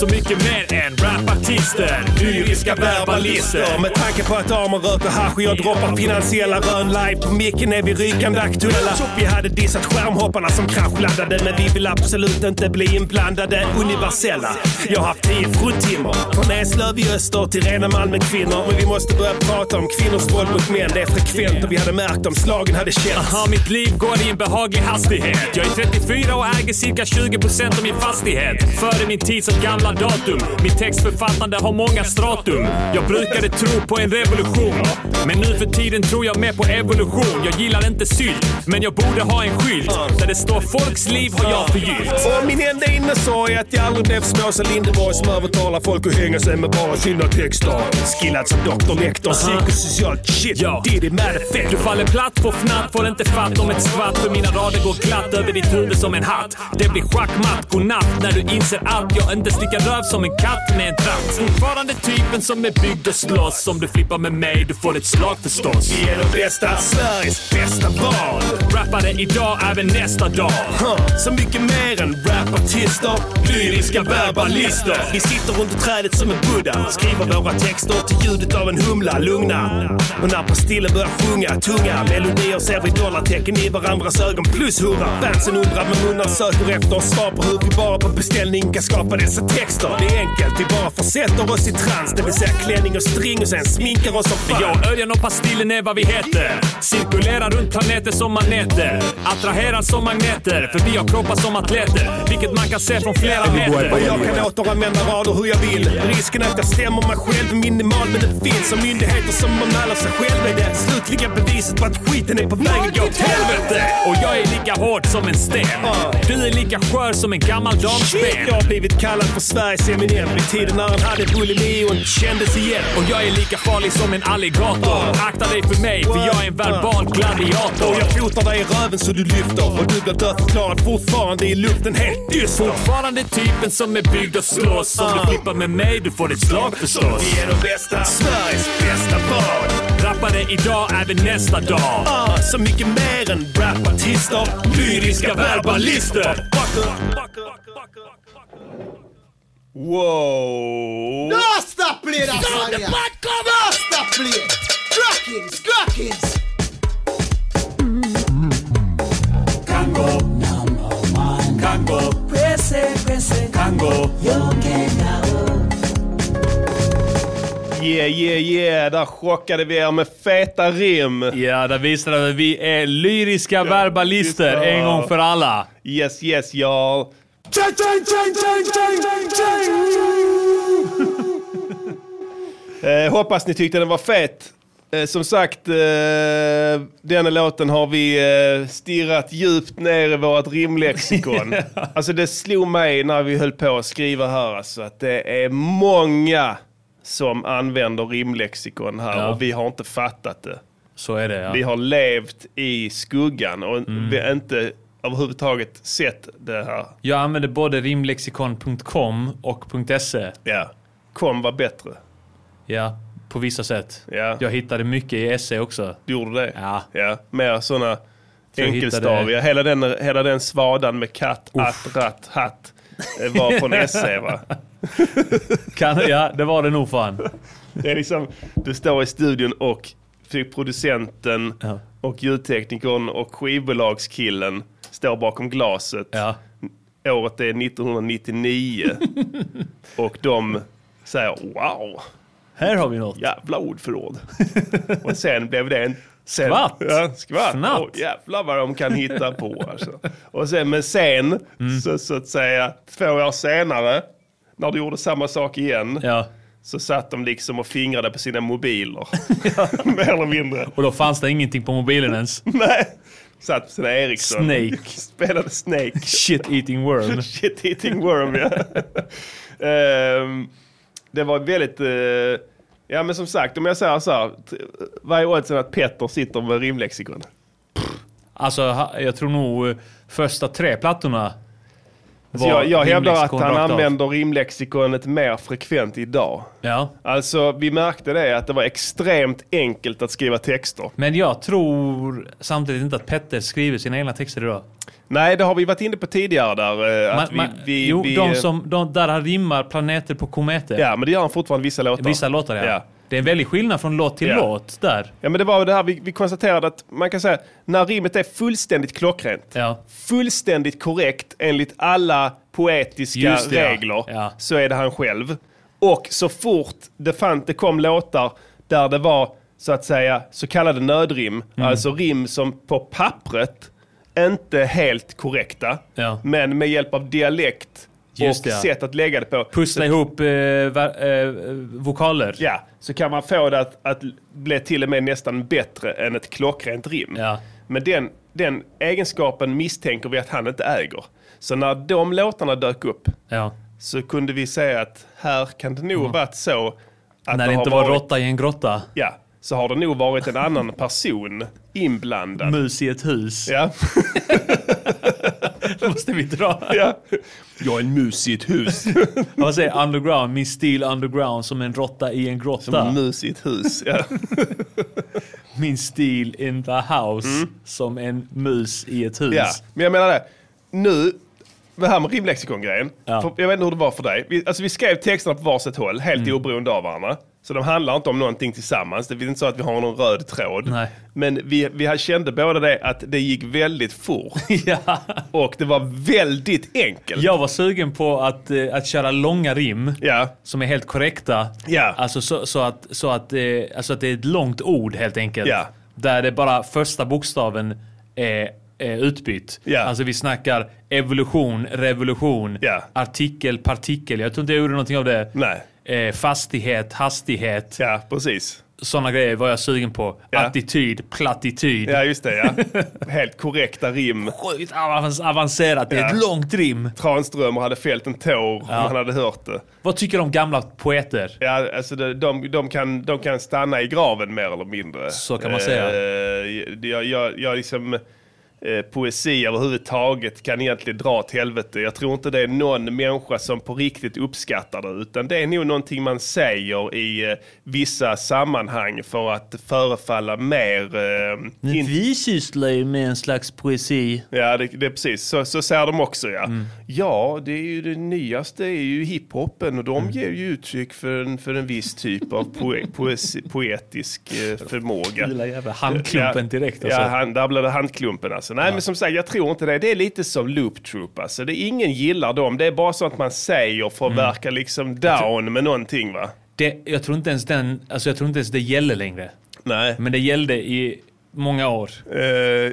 S2: Så mycket mer än rapartister. Lyriska verbalister.
S7: Med tanke på att Arman röker hasch och jag droppar finansiella rön live på micken är vi rykande aktuella. Vi hade dissat skärmhopparna som kraschlandade men vi vill absolut inte bli inblandade. Universella. Jag har haft tio fruntimmer. Från Eslöv i öster till rena Malmökvinnor. Men vi måste börja prata om kvinnors våld mot män. Det är frekvent och vi hade märkt om slagen hade känts.
S2: Aha, mitt liv går i en behaglig hastighet. Jag är 34 och äger cirka 20% av min fastighet. Före min tid som gamla datum. Mitt textförfattande har många stratum. Jag brukade tro på en revolution. Men nu för tiden tror jag mer på evolution. Jag gillar inte sylt, men jag borde ha en skylt. Där det står folks liv har jag förgyllt.
S7: Och min enda innesorg är att jag aldrig blev som Åsa Linderborg som övertalar folk att hänga sig med bara sina texter. Skillad som doktor lektor, psykosocialt shit.
S2: Ja.
S7: Diddy mad effect.
S2: Du faller platt på fnatt, får inte fatt om ett skvatt för mina rader går glatt över ditt huvud som en hatt. Det blir schackmatt, godnatt när du inser att jag inte slickar röv som en katt med en tratt. Fortfarande typen som är byggd och slåss. Om du flippar med mig, du får ett slag förstås.
S7: Vi är de bästa, Sveriges bästa barn.
S2: Rappare idag, även nästa dag.
S7: Huh. Så mycket mer än rapartister, lyriska verbalister. Vi sitter runt trädet som en Buddha. Skriver våra texter till ljudet av en humla, lugna. Och när pastillen börjar sjunga, tunga melodier ser vi dollartecken i varandras ögon. Plus hurra! Fansen undrar med munnar söker efter svar på hur vi bara på beställning kan skapa dessa texter. Det är enkelt, vi bara försätter oss i trans. Det vill säga klänning och string och sen sminkar oss som fan.
S2: Jag, Örjan och Pastillen är vad vi heter. Cirkulerar runt planeter som maneter. Attraherar som magneter, för vi har kroppar som atleter. Vilket man kan se från flera meter.
S7: Och jag kan återanvända rader hur jag vill. Risken att jag stämmer mig själv är minimal men det finns. Och myndigheter som omnallar sig själva är det slutliga beviset på att skiten är på väg att gå åt helvete.
S2: Och jag är lika hård som en sten. Du är lika skör som en gammal
S7: Shit, jag
S2: damsben.
S7: har blivit kallad för Sveriges Eminem vid tiden när han hade bulimi och inte kändes igen.
S2: Och jag är lika farlig som en alligator. Akta dig för mig, för jag är en verbal
S7: Och jag
S2: gladiator.
S7: fotar dig i röven så du lyfter och du blir dödförklarad fortfarande i luften helt dyster.
S2: Fortfarande typen som är byggd och slåss. Om du flippar med mig, du får ett slag förstås.
S7: Vi är de bästa, Sveriges bästa barn.
S2: Rappare idag, även nästa dag.
S7: Ah, så mycket mer än rapartister, lyriska verbalister.
S4: Wow!
S9: Rasta play that Stop the fuck up! Rasta play! Crackings, crackings!
S4: Yeah, yeah, yeah! Där chockade vi er med feta rim.
S5: Ja, där visar det att vi är lyriska verbalister
S4: just det.
S5: en gång för alla.
S4: Yes, yes, y'all. <laughs> eh, hoppas ni tyckte den var fet. Eh, som sagt, eh, denna låten har vi eh, stirrat djupt ner i vårt rimlexikon. Alltså det slog mig när vi höll på att skriva här alltså, att det är många som använder rimlexikon här
S5: Ja.
S4: och vi har inte fattat det.
S5: Så är det
S4: Vi
S5: ja. Mm.
S4: har levt i skuggan och vi har inte överhuvudtaget sett det här.
S5: Jag använder både rimlexikon.com och .se.
S4: Ja. kom var bättre.
S5: Ja, på vissa sätt.
S4: Ja.
S5: Jag hittade mycket i SE också.
S4: Du gjorde det?
S5: Ja.
S4: ja. Mer sådana
S5: jag
S4: enkelstaviga.
S5: hittade-
S4: Hela den, hela den svadan med katt, att, ratt, hatt eh, var
S5: <laughs>
S4: från SE va?
S5: Kan, ja, det var det nog fan.
S4: Det är liksom, du står i studion och fick producenten
S5: Ja.
S4: och ljudteknikern och skivbolagskillen står bakom glaset.
S5: Ja.
S4: Året är
S5: <laughs>
S4: 1999 och de säger wow,
S5: Här har vi något.
S4: jävla
S5: <laughs>
S4: ordförråd. och sen blev det en sen,
S5: Skvatt.
S4: Ja, skvatt.
S5: Fnatt.
S4: Åh, jävlar vad de kan hitta på alltså. Och sen, men sen,
S5: Mm.
S4: så, så att säga, två år senare, när du gjorde samma sak igen,
S5: Ja.
S4: så satt de liksom och fingrade på sina
S5: <laughs>
S4: mobiler. Mer eller mindre.
S5: Och då fanns det ingenting på
S4: <laughs>
S5: mobilen ens.
S4: Nej. Satt på sina Ericsson.
S5: Snake.
S4: <laughs> Spelade Snake.
S5: Shit eating
S4: <laughs>
S5: worm.
S4: Shit eating worm
S5: <laughs>
S4: ja. Ehm, det var väldigt... eh, ja men som sagt, om jag säger så här. t- Vad är oddsen att Petter sitter med rimlexikon?
S5: Alltså, ha- jag tror nog eh, första tre plattorna
S4: Så Alltså, jag jag hävdar att
S5: rimlexikon
S4: han
S5: rakt av.
S4: använder rimlexikonet mer frekvent idag.
S5: Ja.
S4: Alltså vi märkte det att det var extremt enkelt att skriva texter.
S5: Men jag tror samtidigt inte att Petter skriver sina egna texter idag.
S4: Nej, det har vi varit inne på tidigare där. eh,
S5: Man,
S4: Att
S5: man,
S4: vi, vi,
S5: jo,
S4: vi, eh,
S5: de som, de, där han rimmar planeter på kometer.
S4: Ja, men det gör han fortfarande vissa låtar.
S5: Vissa låtar, ja.
S4: Ja,
S5: Det är en väldig skillnad från låt till
S4: Ja.
S5: låt där.
S4: ja men det var ju det här vi, vi konstaterade att man kan säga när rimmet är fullständigt klockrent,
S5: Ja.
S4: fullständigt korrekt enligt alla poetiska
S5: Just det, ja.
S4: regler,
S5: Ja.
S4: så är det han själv. Och så fort det, fann, det kom låtar där det var så att säga så kallade nödrim,
S5: Mm.
S4: alltså rim som på pappret inte helt korrekta,
S5: Ja.
S4: men med hjälp av dialekt
S5: Just
S4: och
S5: det, ja.
S4: sätt att lägga det på.
S5: Pussla ihop eh, ver- eh, vokaler.
S4: Ja, så kan man få det att, att bli till och med nästan bättre än ett klockrent rim.
S5: Ja.
S4: Men den, den egenskapen misstänker vi att han inte äger. Så när de låtarna dök upp
S5: Ja.
S4: så kunde vi säga att här kan det nog varit så att
S5: Mm. När
S4: det
S5: det
S4: har
S5: inte var
S4: varit,
S5: råtta i en grotta.
S4: Ja, så har det nog varit en annan person inblandad.
S5: Mus i ett hus.
S4: Ja,
S5: <laughs>
S4: <laughs>
S5: Måste vi dra?
S4: ja. Jag är en mus i ett hus.
S5: Vad säger underground? Min stil underground som en råtta i en grotta.
S4: En mus i ett hus. Ja.
S5: Min stil in the house som en mus i ett hus.
S4: Mm. Ja, men jag menar det. Nu, det här med rimlexikongrejen.
S5: Ja.
S4: För Jag vet inte hur det var för dig. Vi, alltså vi skrev texterna på varsitt håll, helt
S5: Mm.
S4: oberoende av varandra. Så de handlar inte om någonting tillsammans. Det är inte så att vi har någon röd tråd.
S5: Nej.
S4: Men vi, vi kände båda det att det gick väldigt fort.
S5: <laughs> <laughs> ja.
S4: och det var väldigt enkelt.
S5: Jag var sugen på att, eh, att köra långa rim.
S4: Ja.
S5: Som är helt korrekta.
S4: Ja.
S5: Alltså så, så, att, så att, eh, alltså att det är ett långt ord helt enkelt.
S4: Ja.
S5: Där det bara första bokstaven är, är utbytt.
S4: Ja.
S5: Alltså vi snackar evolution, revolution,
S4: Ja.
S5: artikel, partikel. Jag tror inte jag gjorde någonting av det.
S4: Nej.
S5: Eh, fastighet, hastighet,
S4: Ja, precis.
S5: sådana grejer var jag sugen på.
S4: Ja.
S5: Attityd, plattityd.
S4: Ja, just
S5: <laughs>
S4: det. Ja. Helt korrekta rim.
S5: Sjukt avan- avancerat, det är ett
S4: Ja.
S5: långt rim.
S4: Tranströmer hade fällt en tår om han hade hört det.
S5: Vad tycker du om gamla poeter?
S4: Ja, alltså de, de, de, kan, de kan stanna i graven mer eller mindre.
S5: Så kan man säga.
S4: Eh, jag, jag, jag liksom, eh, poesi överhuvudtaget kan egentligen dra åt helvete. Jag tror inte det är någon människa som på riktigt uppskattar det. Utan det är nog någonting man säger i eh, vissa sammanhang för att förefalla mer... Eh, in-
S5: Vi sysslar ju med en slags poesi.
S4: ja, det, det är precis. Så, så säger de också ja.
S5: Mm.
S4: Ja, det, är ju det nyaste är ju hiphopen och de
S5: Mm.
S4: ger ju uttryck för en, för en viss typ av
S5: <laughs>
S4: poe, poesi, poetisk eh, förmåga.
S5: Lilla jävla handklumpen direkt alltså.
S4: Ja, han, där blev det handklumpen alltså. Nej, men som sagt, jag tror inte det. Det är lite som Loop Troop alltså. Det, ingen gillar dem. Det är bara så att man säger för att
S5: Mm.
S4: verka liksom down med någonting va?
S5: Det, jag, tror inte ens den, alltså jag tror inte ens det gäller längre.
S4: Nej. Eh,
S5: Men det gällde i många år.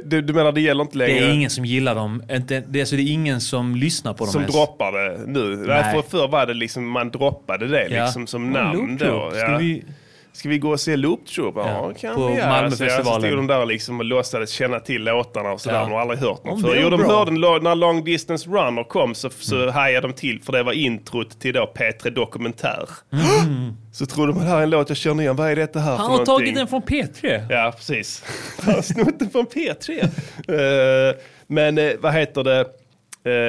S4: du, du menar det gäller inte längre?
S5: Det är ingen som gillar dem. Inte, det, alltså det är ingen som lyssnar på dem
S4: Som
S5: ens.
S4: droppar det nu. Nej. För förr var det liksom, man droppade det
S5: Ja.
S4: liksom som
S5: Ja,
S4: namn
S5: Loop Troop.
S4: då.
S5: Ska
S4: ja.
S5: vi-
S4: Ska vi gå och se Loop Troop? Ja,
S5: Ja,
S4: kan
S5: på
S4: vi göra. Så, jag-
S5: Malmöfestivalen.
S4: så stod de där liksom och låtsades känna till låtarna och sådär.
S5: Ja.
S4: De har aldrig hört något
S5: Om
S4: förr.
S5: det är
S4: Jo, de
S5: bra.
S4: hörde en lo- när Long Distance Runner kom så, så
S5: Mm.
S4: hajade de till för det var introt till då P3 Dokumentär.
S5: Mm.
S4: <gasps> Så trodde man, här är en låt jag känner igen. Vad är detta här för
S5: Han har
S4: någonting?
S5: tagit den från P3.
S4: Ja, <laughs> precis. Han har snott den från P3. Eh, men eh, vad heter det?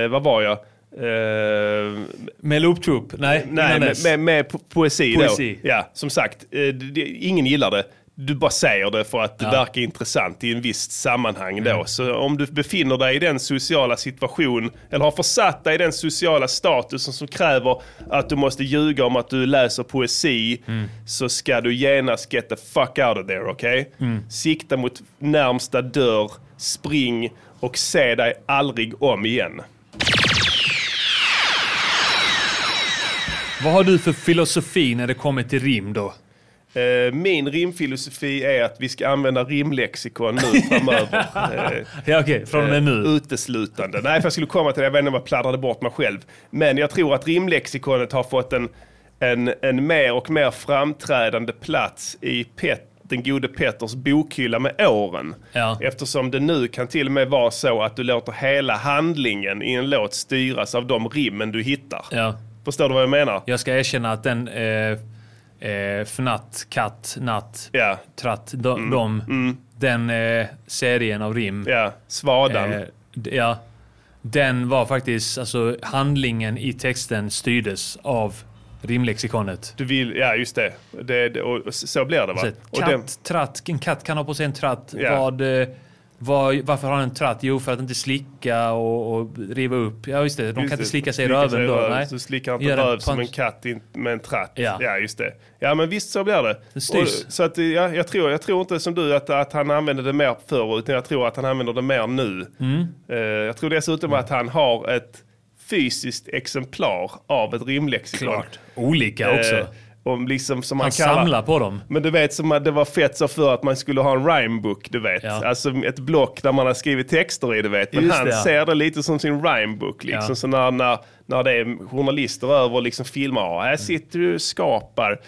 S4: Eh, vad var jag? Eh,
S5: Med looptrup? Nej,
S4: nej,
S5: innan
S4: med,
S5: dess.
S4: med, med po- poesi,
S5: Poesi.
S4: då. Ja, som sagt, eh, det- det- ingen gillar det. Du bara säger det för att det verkar intressant i en visst sammanhang då.
S5: Mm.
S4: Så om du befinner dig i den sociala situation, eller har försatt dig i den sociala statusen som kräver att du måste ljuga om att du läser poesi,
S5: Mm.
S4: så ska du genast get the fuck out of there, okej?
S5: Mm.
S4: Sikta mot närmsta dörr, spring och se dig aldrig om igen.
S5: Vad har du för filosofi när det kommer till rim då?
S4: Eh, Min rimfilosofi är att vi ska använda rimlexikon nu
S5: <laughs>
S4: framöver. Eh,
S5: Ja, okej. från och med nu.
S4: Uteslutande. Nej, för jag skulle komma till det. Jag vet inte om jag pladdrade bort mig själv. Men jag tror att rimlexikonet har fått en, en, en mer och mer framträdande plats i Pet, den gode Petters bokhylla med åren.
S5: Ja.
S4: Eftersom det nu kan till och med vara så att du låter hela handlingen i en låt styras av de rimmen du hittar.
S5: Ja.
S4: Förstår du vad jag menar?
S5: Jag ska erkänna att den eh, eh, Fnatt, Katt, Natt,
S4: Ja.
S5: Tratt, de,
S4: Mm.
S5: de den eh, serien av rim.
S4: Ja, svadan.
S5: eh, d- ja, den var faktiskt, alltså handlingen i texten styrdes av rimlexikonet.
S4: Du vill, ja just det. det, det och, och så blir det va?
S5: Så,
S4: och
S5: katt,
S4: den-
S5: tratt, en katt kan ha på sig en tratt.
S4: Ja.
S5: Vad, eh, vad, varför har den en tratt? Jo, för att inte slicka och, och riva upp. Ja, just det. De
S4: just
S5: kan
S4: det,
S5: inte slicka sig i
S4: slicka
S5: röven då.
S4: röven,
S5: Nej.
S4: Så slickar
S5: Gör
S4: inte
S5: en
S4: röv som en
S5: punch.
S4: katt in, med en tratt.
S5: Ja.
S4: just det. Ja men visst så blir det.
S5: Det styrs.
S4: Och, så att, ja, jag, tror, jag tror inte som du att, att han använder det mer förr utan jag tror att han använder det mer nu.
S5: Mm.
S4: Eh, jag tror dessutom att han har ett fysiskt exemplar av ett rimlexikon.
S5: Klart. Olika också.
S4: Eh, om liksom, som
S5: Han
S4: kallar-
S5: samlar på dem.
S4: Men du vet som att det var fett så för att man skulle ha en rhymebook, du vet.
S5: Ja.
S4: Alltså ett block där man har skrivit texter i, du vet. Men
S5: Just
S4: han
S5: det, ja.
S4: ser det lite som sin rhymebook, liksom.
S5: Ja.
S4: Så när, när, när det är journalister över och liksom filmar, ja, här sitter du och skapar.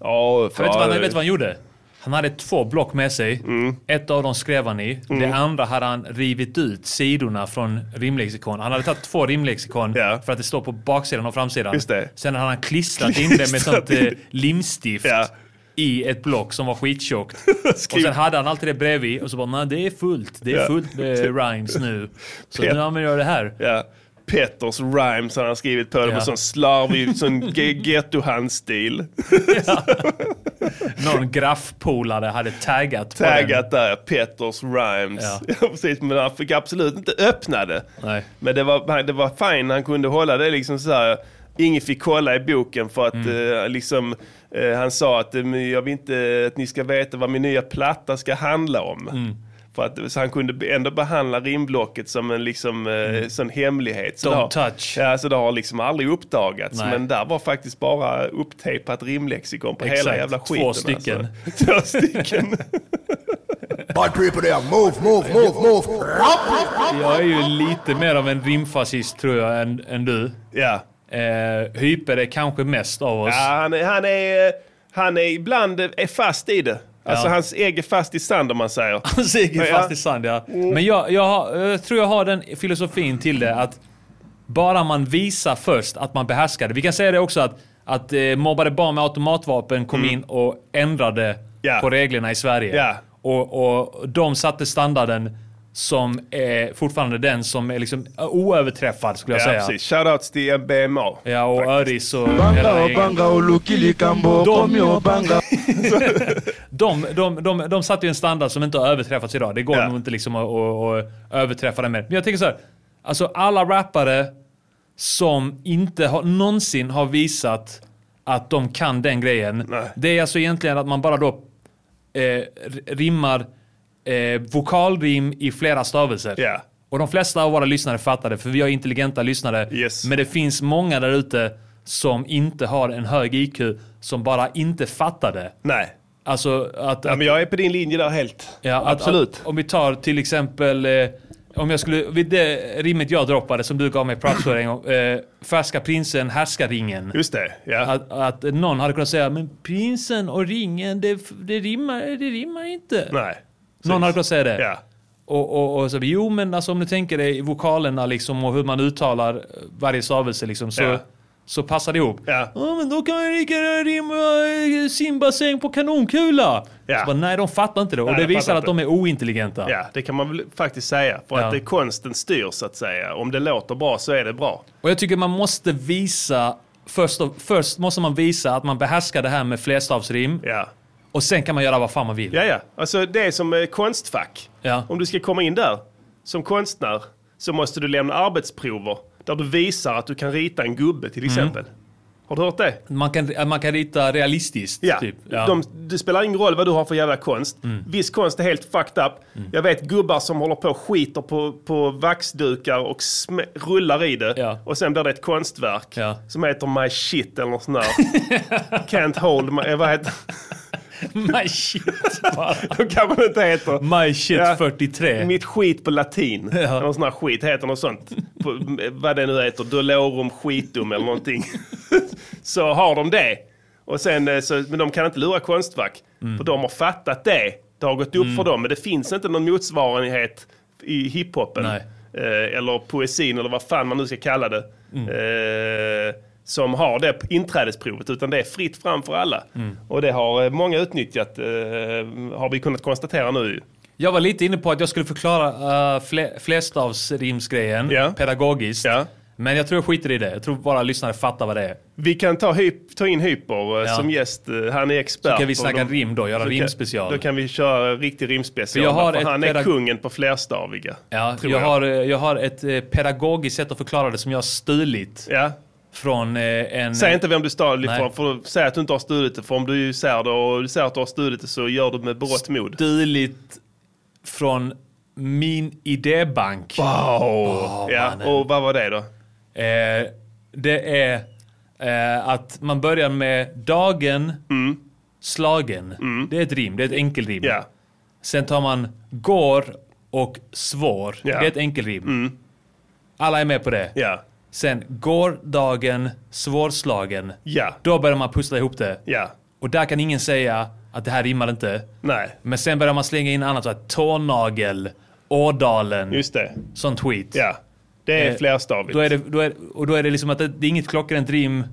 S4: Ja, Mm.
S5: Jag vet, du vad, han- vet du vad han gjorde? Han hade två block med sig. Ett av dem skrev han i. Det andra hade han rivit ut sidorna från rimlexikon. Han hade tagit två rimlexikon
S4: Ja.
S5: för att det står på baksidan och framsidan.
S4: Just det.
S5: Sen hade han klistrat in det med
S4: Klistrat
S5: sånt eh,
S4: in.
S5: limstift.
S4: Ja.
S5: I ett block som var skittjockt.
S4: <laughs>
S5: och
S4: Skriv-
S5: sen hade han alltid det bredvid och så bara nej det är fullt. Det är
S4: Ja. <laughs>
S5: fullt med rhymes nu. Så
S4: Pet-
S5: nu använder jag det här.
S4: Ja. Petters rhymes har han skrivit på det
S5: Ja.
S4: med sån slarvig, sån ge- gettohandstil.
S5: Någon graffpolare hade taggat på den.
S4: Taggat där, Petters rhymes.
S5: Ja.
S4: <laughs> Ja. precis, men han fick absolut inte öppna det.
S5: Nej.
S4: Men det var, det var fine, han kunde hålla det liksom så här. Ingen fick kolla i boken för att
S5: Mm.
S4: eh, liksom, eh, han sa att eh, men jag vill inte att ni ska veta vad min nya platta ska handla om.
S5: Mm.
S4: För att, så han kunde ändå behandla rimblocket som en liksom, eh, sån hemlighet. Så
S5: Mm. Don't
S4: det har,
S5: touch.
S4: Ja, så det har liksom aldrig uppdagats.
S5: Nej.
S4: Men där var faktiskt bara upptejpat rimlexikon på hela
S5: Exakt.
S4: jävla
S5: Två
S4: skiten.
S5: stycken.
S4: Alltså. <laughs> Två
S5: <laughs>
S4: stycken.
S1: Bad people there, move, move, move, move.
S5: Jag är ju lite mer av en rimfascist tror jag än, än du.
S4: ja.
S5: Eh, hyper är kanske mest av oss.
S4: Ja, han, är- han, är, eh, han är ibland eh, är fast i det. Alltså
S5: Ja.
S4: hans ägg är fast i sand om man
S5: <laughs>
S4: säger.
S5: Han Sigge
S4: Men
S5: fast
S4: ja.
S5: i sand, ja. Men jag, jag, har, jag tror jag har den filosofin till det att bara man visar först att man behärskar det. Vi kan säga det också att, att eh, mobbade barn med automatvapen kom in och ändrade
S4: Mm. Ja.
S5: på reglerna i Sverige.
S4: Ja.
S5: Och, och de satte standarden som är fortfarande den som är liksom oöverträffad skulle jag
S4: Ja,
S5: säga.
S4: precis. Shoutouts till BMA.
S5: Ja, och Öris och hela
S6: banga
S5: gänget.
S6: obanga oluki likambo komi obanga
S5: De, de, de, de satte ju en standard som inte har överträffats idag. Det går
S4: Ja.
S5: nog inte liksom att, att, att överträffa den mer. Men jag tänker så här. Alltså alla rappare som inte har, någonsin har visat att de kan den grejen.
S4: Nej.
S5: Det är alltså egentligen att man bara då eh, r- rimmar eh, vokalrim i flera stavelser.
S4: Ja.
S5: Och de flesta av våra lyssnare fattar det, för vi har intelligenta lyssnare.
S4: Yes.
S5: Men det finns många där ute som inte har en hög IQ, som bara inte fattar det.
S4: Nej,
S5: Alltså att...
S4: ja,
S5: att,
S4: men jag är på din linje där helt.
S5: ja, att
S4: absolut.
S5: Att, om vi tar till exempel... Eh, om jag skulle... Vid det rimmet jag droppade som du gav mig props för en gång. Eh, färska prinsen, härska ringen.
S4: Just det, ja.
S5: Att, att någon hade kunnat säga men prinsen och ringen, det, det, rimmar, det rimmar inte.
S4: Nej.
S5: någon hade kunnat säga det.
S4: Ja.
S5: Och, och, och så, jo men alltså om du tänker dig vokalerna liksom och hur man uttalar varje eh, stavelse liksom så...
S4: Ja.
S5: så passar det ihop.
S4: Ja.
S5: men då kan jag lika gärna rimma eh, simbassäng på kanonkula.
S4: Ja.
S5: Så bara, nej, de fattar inte det. Och
S4: Nej,
S5: det
S4: de
S5: visar
S4: fattar
S5: att de är ointelligenta.
S4: Ja, det kan man väl faktiskt säga. För
S5: Ja.
S4: att det, konsten styr så att säga. Om det låter bra så är det bra.
S5: Och jag tycker man måste visa, först, och, först måste man visa att man behärskar det här med flerstavsrim.
S4: Ja,
S5: Och sen kan man göra vad fan man vill.
S4: ja. ja. Alltså det är som eh, konstfack.
S5: Ja.
S4: Om du ska komma in där som konstnär så måste du lämna arbetsprover där du visar att du kan rita en gubbe
S5: Mm.
S4: till exempel. Har du hört det?
S5: Man, kan, man kan rita realistiskt.
S4: Ja.
S5: Typ. Mm.
S4: De, det spelar ingen roll vad du har för jävla konst. Viss konst är helt fucked up. Jag vet gubbar som håller på och skiter på, på vaxdukar och sm- rullar i det.
S5: Ja.
S4: Och sen blir det ett konstverk
S5: Ja.
S4: som heter My Shit eller något sånt där. <laughs> Can't hold my... eh, Vad heter
S5: <laughs>
S4: <laughs>
S5: My shit.
S4: De kanske det inte heter.
S5: My shit
S4: Ja.
S5: 43.
S4: Mitt skit på latin.
S5: Eh. Ja.
S4: Någon sån här skit heter något sånt. På, eh, vad det nu heter. Dolorum skitum eller
S5: <laughs>
S4: någonting. så har de det. Och sen, eh, så, men de kan inte lura Konstfack.
S5: Mm.
S4: För de har fattat det. Det har gått upp för dem. Men det finns inte någon motsvarighet i hiphopen.
S5: Nej.
S4: Eh, eller poesin eller vad fan man nu ska kalla det.
S5: Mm.
S4: Eh, som har det inträdesprovet. Utan det är fritt fram för alla.
S5: Mm.
S4: Och det har eh, många utnyttjat. Eh, har vi kunnat konstatera nu.
S5: Jag var lite inne på att jag skulle förklara uh, fle- flerstavsrimsgrejen
S4: Ja.
S5: pedagogiskt.
S4: Ja.
S5: Men jag tror jag skiter i det. Jag tror bara lyssnare fattar vad det är.
S4: Vi kan ta, hyp, ta in Hyper eh,
S5: Ja.
S4: som gäst. Eh, Han är expert.
S5: Då kan vi
S4: Och
S5: snacka
S4: de-
S5: rim då, göra
S4: då kan-
S5: rimspecial.
S4: Då kan vi köra riktig rimspecial.
S5: För jag har
S4: för
S5: ett
S4: han är
S5: pedag-
S4: kungen på flerstaviga.
S5: ja,
S4: tror
S5: jag, har, eh, jag har ett eh, pedagogiskt sätt att förklara det som jag har stulit
S4: Ja.
S5: från eh, en...
S4: Säg inte vem du stal
S5: Nej.
S4: ifrån, för säg att du inte har stulit det. För om du säger det och du säger att du har stulit det så gör du med berått mod.
S5: Stulit från min idébank.
S4: ja. Och vad var det då?
S5: Eh, det är eh, att man börjar med dagen, slagen. Det är ett rim, det är ett enkelrim.
S4: Mm. Ja.
S5: Sen tar man går och svår.
S4: Ja. Mm.
S5: Det är ett enkelrim. Alla är med på det.
S4: Ja.
S5: Sen gårdagen, svårslagen.
S4: Ja.
S5: Då börjar man pussla ihop det.
S4: Ja.
S5: Och där kan ingen säga att det här rimmar inte.
S4: Nej.
S5: Men sen börjar man slänga in annat, så här, tånagel, Ådalen,
S4: Just det.
S5: sånt skit.
S4: Ja. Det är
S5: Eh,
S4: flerstavigt.
S5: Då är det, då är, och då är det liksom att det, det är inget klockrent rim.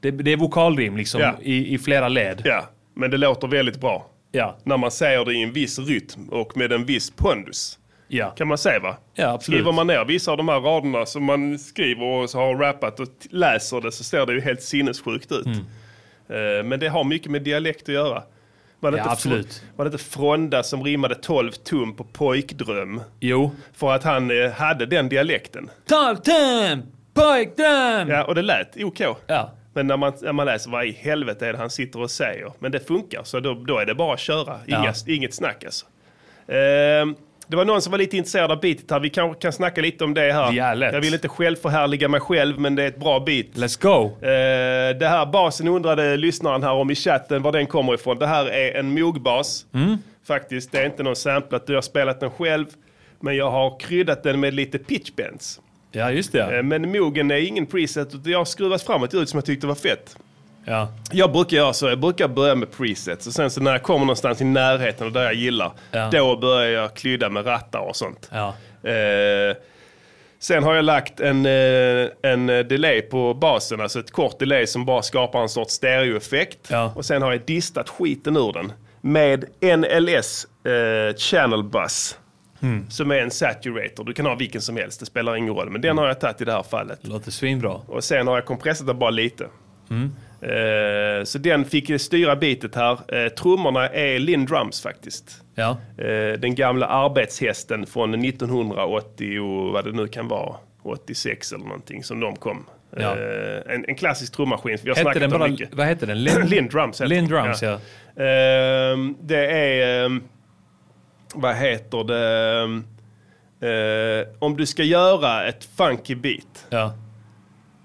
S5: Det, det är vokalrim liksom
S4: Ja.
S5: i, i flera led.
S4: Ja. Men det låter väldigt bra.
S5: Ja.
S4: När man säger det i en viss rytm och med en viss pondus.
S5: Ja.
S4: Kan man säga va?
S5: Ja, absolut.
S4: Skriver man ner vissa av de här raderna som man skriver och så har rappat och t- läser det så ser det ju helt sinnessjukt ut. Eh, Men det har mycket med dialekt att göra. Var det,
S5: Mm.
S4: inte,
S5: Ja, absolut.
S4: var det inte Fronda som rimmade 12 tum på pojkdröm?
S5: Jo.
S4: För att han eh, hade den dialekten.
S5: Mm. Tartem! Pojkdröm! Ja.
S4: Ja, och det lät OK.
S5: Ja.
S4: Men när man, när man läser vad i helvete är det han sitter och säger. Men det funkar, så då, då är det bara att köra. Inga,
S5: Ja.
S4: Inget snack alltså. Ehm, det var någon som var lite intresserad av beatet här. Vi kan, kan snacka lite om det här.
S5: Det är lätt.
S4: Jag vill inte självförhärliga mig själv, men det är ett bra beat.
S5: Let's go!
S4: Eh, det här basen undrade lyssnaren här om i chatten var den kommer ifrån. Det här är en mogbas.
S5: Mm.
S4: Faktiskt, det är inte någon samplat. Jag har spelat den själv. Men jag har kryddat den med lite pitchbends.
S5: Ja, just det.
S4: Eh, Men mogen är ingen preset. utan Jag har skruvat fram ett ljud som jag tyckte var fett.
S5: Ja.
S4: Jag brukar göra så, jag brukar börja med presets och sen så när jag kommer någonstans i närheten och där jag gillar,
S5: Ja.
S4: då börjar jag klydda med rattar och sånt.
S5: Ja.
S4: Eh, sen har jag lagt en, eh, en eh, delay på basen, alltså ett kort delay som bara skapar en sorts stereoeffekt.
S5: Ja.
S4: Och sen har jag distat skiten ur den med NLS eh, Channel Bus.
S5: Mm.
S4: Som är en saturator, du kan ha vilken som helst, det spelar ingen roll. Men
S5: Mm.
S4: den har jag tagit i det här fallet.
S5: Låter svinbra.
S4: Och sen har jag kompressat den bara lite.
S5: Mm.
S4: Eh, så den fick styra bitet här. Uh, trummorna är Linn Drums faktiskt.
S5: Ja.
S4: Eh, den gamla arbetshästen från 1980, och vad det nu kan vara, 86 eller någonting som de kom.
S5: Ja.
S4: Eh, en, en klassisk trummaskin, vi har
S5: Hette
S4: snackat
S5: den
S4: om
S5: bara,
S4: mycket.
S5: vad heter den? <clears throat> Lin-
S4: Linn Drums heter
S5: Lin
S4: den,
S5: Drums, ja.
S4: Ehm, det är... ehm, vad heter det? Ehm, eh, om du ska göra ett funky beat
S5: Ja.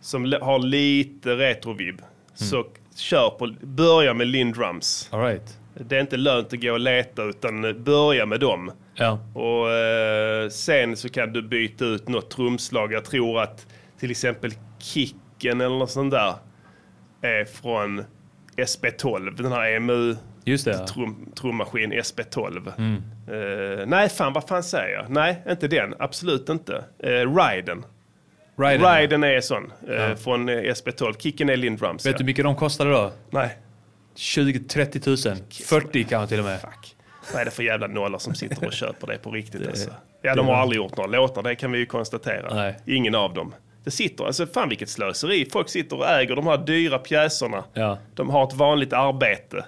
S4: som li- har lite retrovibb så kör på, börja med Lindrums.
S5: All right.
S4: Det är inte lönt att gå och leta utan eh, börja med dem.
S5: Ja.
S4: Och eh, sen så kan du byta ut något trumslag. Jag tror att till exempel kicken eller något sånt där är från SB12. Den här EMU
S5: Just det. Ja.
S4: trum, trummaskin SB12. Eh, nej, fan vad fan säger jag? Nej, inte den. Absolut inte. Uh, Ryden.
S5: Raiden.
S4: Raiden är sån. eh, Från eh, SB12. Kicken är Lindrums.
S5: Vet du hur mycket de kostade då?
S4: Nej.
S5: 20-30 000. 40 kanske till och med.
S4: Vad är det för jävla nollor som sitter och köper det på riktigt? alltså? Ja, de har aldrig gjort några låtar, det kan vi ju konstatera.
S5: Nej.
S4: Ingen av dem. Det sitter, alltså fan vilket slöseri. Folk sitter och äger de här dyra pjäserna.
S5: Ja.
S4: De har ett vanligt arbete.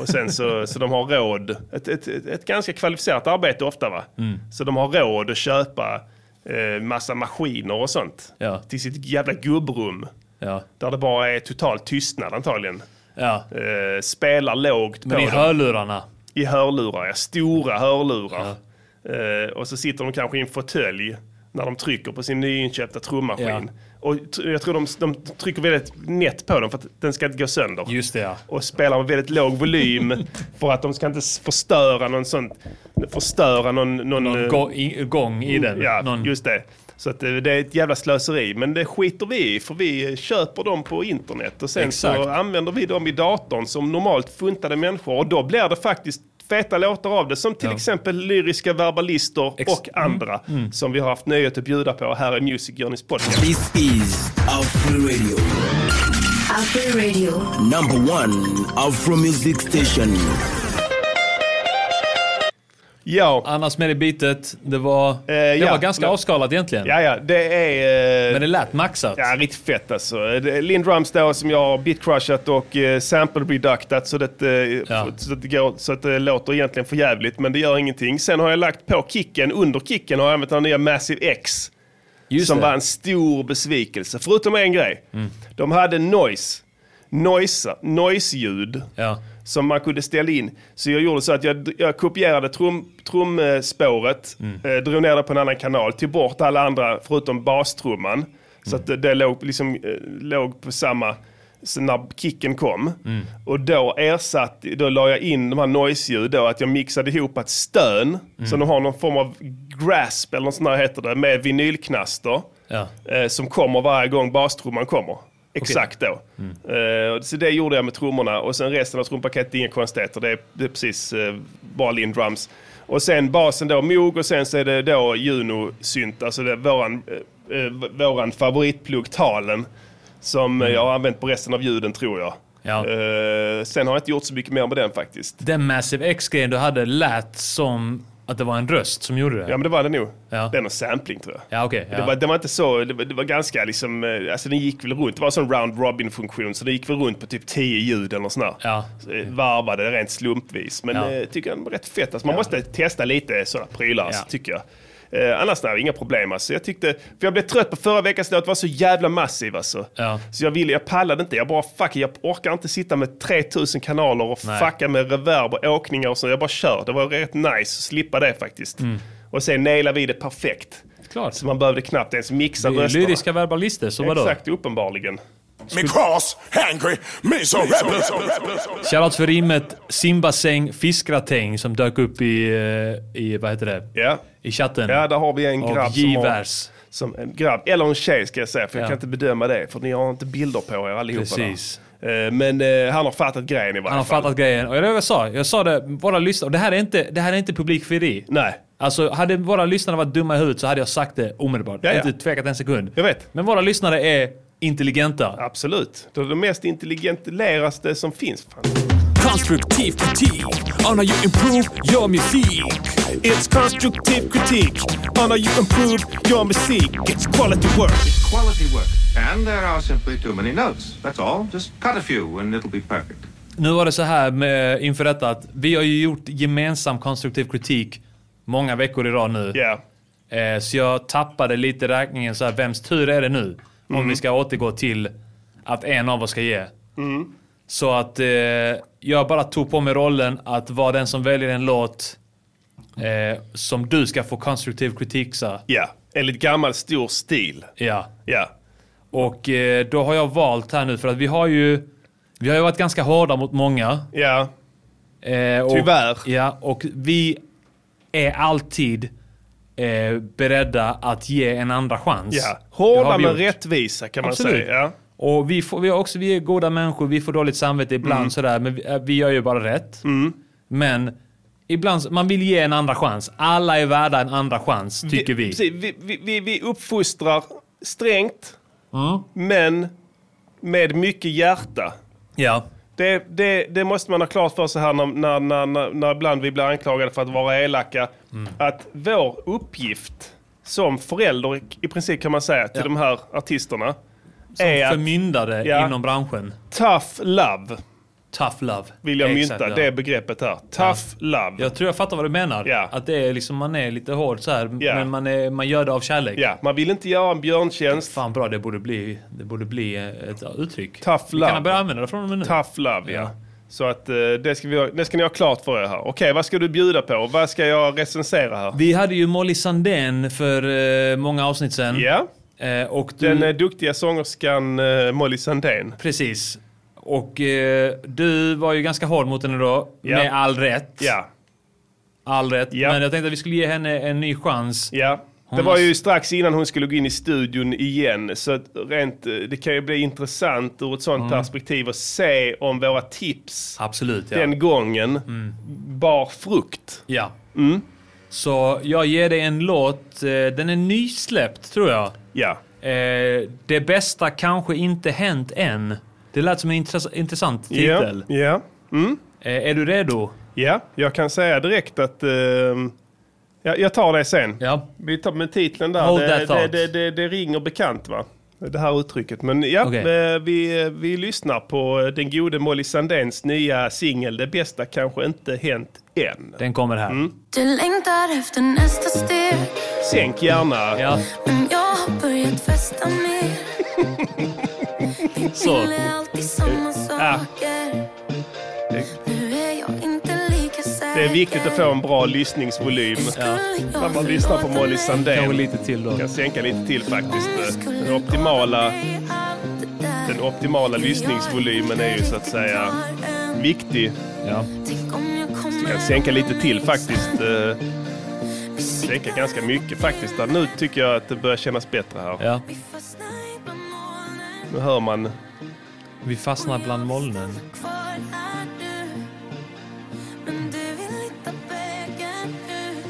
S4: Och sen så, så de har råd. Ett, ett, ett, ett ganska kvalificerat arbete ofta va?
S5: Mm.
S4: Så de har råd att köpa eh, massa maskiner och sånt.
S5: Ja.
S4: Till sitt jävla gubbrum.
S5: Ja.
S4: Där det bara är total tystnad antagligen.
S5: ja.
S4: Eh, spelar lågt
S5: Men
S4: på
S5: i
S4: dem
S5: hörlurarna.
S4: i hörlurar, ja, stora hörlurar. Eh, och så sitter de kanske i en fåtölj när de trycker på sin nyinköpta trummaskin.
S5: Ja.
S4: Och tr- jag tror de, de trycker väldigt nätt på den för att den ska inte gå sönder.
S5: Just det ja.
S4: Och spelar med väldigt låg
S5: <laughs>
S4: volym för att de ska inte s- förstöra någon sån... Förstöra någon... någon,
S5: Någon
S4: eh,
S5: gå- i- gång i den.
S4: Ja,
S5: Någon,
S4: just det. Så att eh, det är ett jävla slöseri. Men det skiter vi i, för vi eh, köper dem på internet och sen
S5: Exakt.
S4: så använder vi dem i datorn som normalt funtade människor. Och då blir det faktiskt feta låtar av det, som till exempel lyriska verbalister
S5: Ex- mm.
S4: och andra som vi har haft nöjet att bjuda på här i Music Journeys podcast.
S10: This is Afro Radio,
S11: Afro Radio.
S10: number one Afro music station.
S4: Ja,
S5: Annars med det bitet, det var, det
S4: ja.
S5: var ganska avskalat egentligen.
S4: ja, ja det är... eh,
S5: Men det lät maxat.
S4: Ja, riktigt fett alltså. Det är Lindrums då som jag har bitcrushat och eh, sample reductat så det, eh, f- så, att det går, så att det låter egentligen för jävligt men det gör ingenting. Sen har jag lagt på kicken, under kicken har jag använt den nya Massive X
S5: Just
S4: som
S5: det. Mm.
S4: var en stor besvikelse. Förutom en grej. De hade noise, noise, noise-ljud
S5: Ja.
S4: som man kunde ställa in. Så jag gjorde så att jag, jag kopierade trum, trumspåret, eh, drog ner det på en annan kanal, tog bort alla andra förutom bastrumman. Så att det, det låg, liksom, eh, låg på samma, så när kicken kom. Och då ersatt, då la jag in de här noise-ljud då, att jag mixade ihop ett stön, så de har någon form av grasp eller något sånt där heter det, med vinylknaster.
S5: Ja.
S4: Eh, som kommer varje gång bastrumman kommer. Exakt då.
S5: Mm.
S4: Eh, så det gjorde jag med trummorna och sen resten av trumpaketet, inga konstigheter. Det är, det är precis eh, bara lindrums. Och sen basen då Moog och sen så är det då Juno-synt, alltså det är våran, eh, eh, våran favoritplugg Talen. Som eh, jag har använt på resten av ljuden tror jag.
S5: Mm. Ja.
S4: Eh, sen har jag inte gjort så mycket mer med den faktiskt.
S5: Den Massive X-grejen du hade lät som att det var en röst som gjorde det.
S4: Ja men det var det nog.
S5: Ja.
S4: Det är någon sampling tror jag.
S5: Ja, okej.
S4: Det
S5: ja.
S4: var, det var inte så, det var, det var ganska liksom, eh, alltså den gick väl runt, det var en sån round robin funktion så det gick väl runt på typ 10 ljud eller nåt sånt där.
S5: Ja.
S4: Så, eh, Varvade rent slumpvis. Men
S5: Ja.
S4: eh, tycker jag den var rätt fett. Alltså, man måste testa lite sådana prylar alltså,
S5: Ja.
S4: tycker jag. Eh, annars nej, inga problem alltså. Jag tyckte, för jag blev trött på förra veckans låt, var så jävla massiv alltså.
S5: Ja.
S4: Så jag ville, jag pallade inte, jag bara fuck it, jag orkar inte sitta med 3000 kanaler och
S5: Nej.
S4: fucka med reverb och åkningar och så. Jag bara kör, det var rätt nice att slippa det faktiskt.
S5: Mm.
S4: Och sen nailade vi det perfekt.
S5: Klart.
S4: Så man behövde knappt ens mixa
S5: Det är ju
S4: rösterna.
S5: lyriska verbalister, så vadå?
S4: Exakt, uppenbarligen.
S1: Me cross, hangry, me so rebel.
S5: Shoutout för rimmet Simbassäng Fiskgratäng som dök upp i, eh, i vad heter det?
S4: Ja.
S5: I chatten.
S4: ja, där har vi en grabb
S5: Av
S4: som, har,
S5: Givers.
S4: som en grabb, eller en tjej ska jag säga, för
S5: Ja.
S4: jag kan inte bedöma det, för ni har inte bilder på er allihopa där.
S5: Precis.
S4: Eh, Men eh, han har fattat grejen i varje
S5: Han har
S4: fall.
S5: fattat grejen. Och det är det jag sa. Jag sa det, våra lyssnare. Och det här är inte, det här är inte publikfrieri.
S4: Nej.
S5: Alltså, hade våra lyssnare varit dumma i huvudet så hade jag sagt det omedelbart.
S4: Ja, ja.
S5: Inte tvekat en sekund.
S4: Jag vet.
S5: Men våra lyssnare är intelligenta.
S4: Absolut. Det är de mest intelligentläraste som finns. Fan.
S12: Konstruktiv kritik on how you improve your musik.
S7: It's constructive critique on how you improve your music. It's quality work.
S6: Quality work. And there are simply too many notes. That's all. Just cut a few and it'll be perfect.
S5: Nu var det så här med, inför detta att vi har ju gjort gemensam konstruktiv kritik många veckor i rad nu.
S4: Ja.
S5: Eh, så jag tappade lite räkningen så här, vems tur är det nu?
S4: Mm.
S5: Om vi ska återgå till att en av oss ska ge.
S4: Mm.
S5: Så att eh, jag bara tog på mig rollen att vara den som väljer en låt eh, som du ska få konstruktiv kritik så.
S4: Ja. Enligt gammal stor stil.
S5: Ja.
S4: Ja.
S5: Och eh, då har jag valt här nu för att vi har ju, vi har ju varit ganska hårda mot många.
S4: Ja.
S5: Eh, och,
S4: Tyvärr.
S5: Ja, och vi är alltid eh, beredda att ge en andra chans.
S4: ja.
S5: Det
S4: Hårda
S5: har vi
S4: men
S5: gjort.
S4: rättvisa kan man
S5: Absolut.
S4: säga. Ja.
S5: Och vi, får, vi, är också, vi är goda människor, vi får dåligt samvete ibland
S7: Mm.
S5: sådär, men vi, eh, vi gör ju bara rätt. Men ibland, så- man vill ge en andra chans. Alla är värda en andra chans, tycker vi.
S4: Precis, vi, vi, vi, vi uppfostrar
S7: strängt,
S5: Mm.
S7: men med mycket hjärta.
S5: Ja.
S7: Det, det, det måste man ha klart för sig här när, när, när, när, när ibland vi blir anklagade för att vara elaka. Att vår uppgift som förälder, i princip kan man säga, till de här artisterna.
S5: Som
S7: är att-
S5: förmyndare
S7: Ja.
S5: inom branschen.
S7: Tough love.
S5: Tough love.
S7: Vill jag
S5: Exakt,
S7: mynta
S5: ja.
S7: det begreppet här. Tough love.
S5: Jag tror jag fattar vad du menar. Att det är liksom, man är lite hård så här, men man, är, man gör det av kärlek.
S7: Ja, man vill inte göra en björntjänst.
S5: Fan bra, det borde bli, det borde bli ett uttryck.
S7: Tough
S5: Vi
S7: love.
S5: kan börja använda det från och med nu.
S7: Tough love, ja. Så att eh, det ska, vi, ha- det ska ni ha klart för er här. Okej, vad ska du bjuda på? Vad ska jag recensera här?
S5: Vi hade ju Molly Sandén för eh, många avsnitt sedan.
S7: Ja.
S5: Eh, och du,
S7: Den eh, duktiga sångerskan eh, Molly Sandén.
S5: Precis. Och eh, du var ju ganska hård mot henne då,
S7: Ja.
S5: med all rätt.
S7: Ja.
S5: All rätt. Men jag tänkte att vi skulle ge henne en ny chans.
S7: Ja. Det
S5: Hon
S7: var
S5: har-
S7: ju strax innan hon skulle gå in i studion igen. Så att rent, eh, det kan ju bli intressant ur ett sånt
S5: Mm.
S7: perspektiv att se om våra tips
S5: Absolut, ja.
S7: den gången
S5: Mm.
S7: bar frukt.
S5: Ja. Så jag ger dig en låt. eh, Den är nysläppt, tror jag. Eh,
S7: Ja.
S5: Det bästa kanske inte hänt än. Det lät som en intress- intressant
S7: Ja,
S5: titel. Eh,
S7: Ja. Mm.
S5: Är du redo?
S7: Ja, jag kan säga direkt att... eh, ja, jag tar det sen.
S5: Ja.
S7: Vi tar med titeln där.
S5: Hold
S7: Det,
S5: that
S7: det,
S5: thought.
S7: det, det, det ringer bekant va? Det här uttrycket. Men ja,
S5: Okej.
S7: eh, vi, vi lyssnar på eh, den gode Molly Sandéns nya singel Det bästa kanske inte hänt än.
S5: Den kommer här.
S6: Du längtar efter nästa steg
S7: Sänk gärna.
S5: Ja.
S6: Men jag har börjat
S7: <laughs>
S6: festa mer
S5: Så.
S6: Vill är alltid samma saker Nu är jag inte lika säker
S7: Det är viktigt att få en bra lyssningsvolym när man lyssnar på Molly Sandén. Kanske
S5: lite till då.
S7: kan sänka lite till faktiskt. eh, Den optimala, den optimala lyssningsvolymen är ju så att säga viktig.
S5: Ja.
S7: Du kan sänka lite till faktiskt. eh, Sänka ganska mycket faktiskt. Ja, Nu tycker jag att det börjar kännas bättre här.
S5: Ja.
S7: Nu hör man...
S5: Vi fastnar bland molnen.
S6: Kvar är du Men du vill inte vägen ut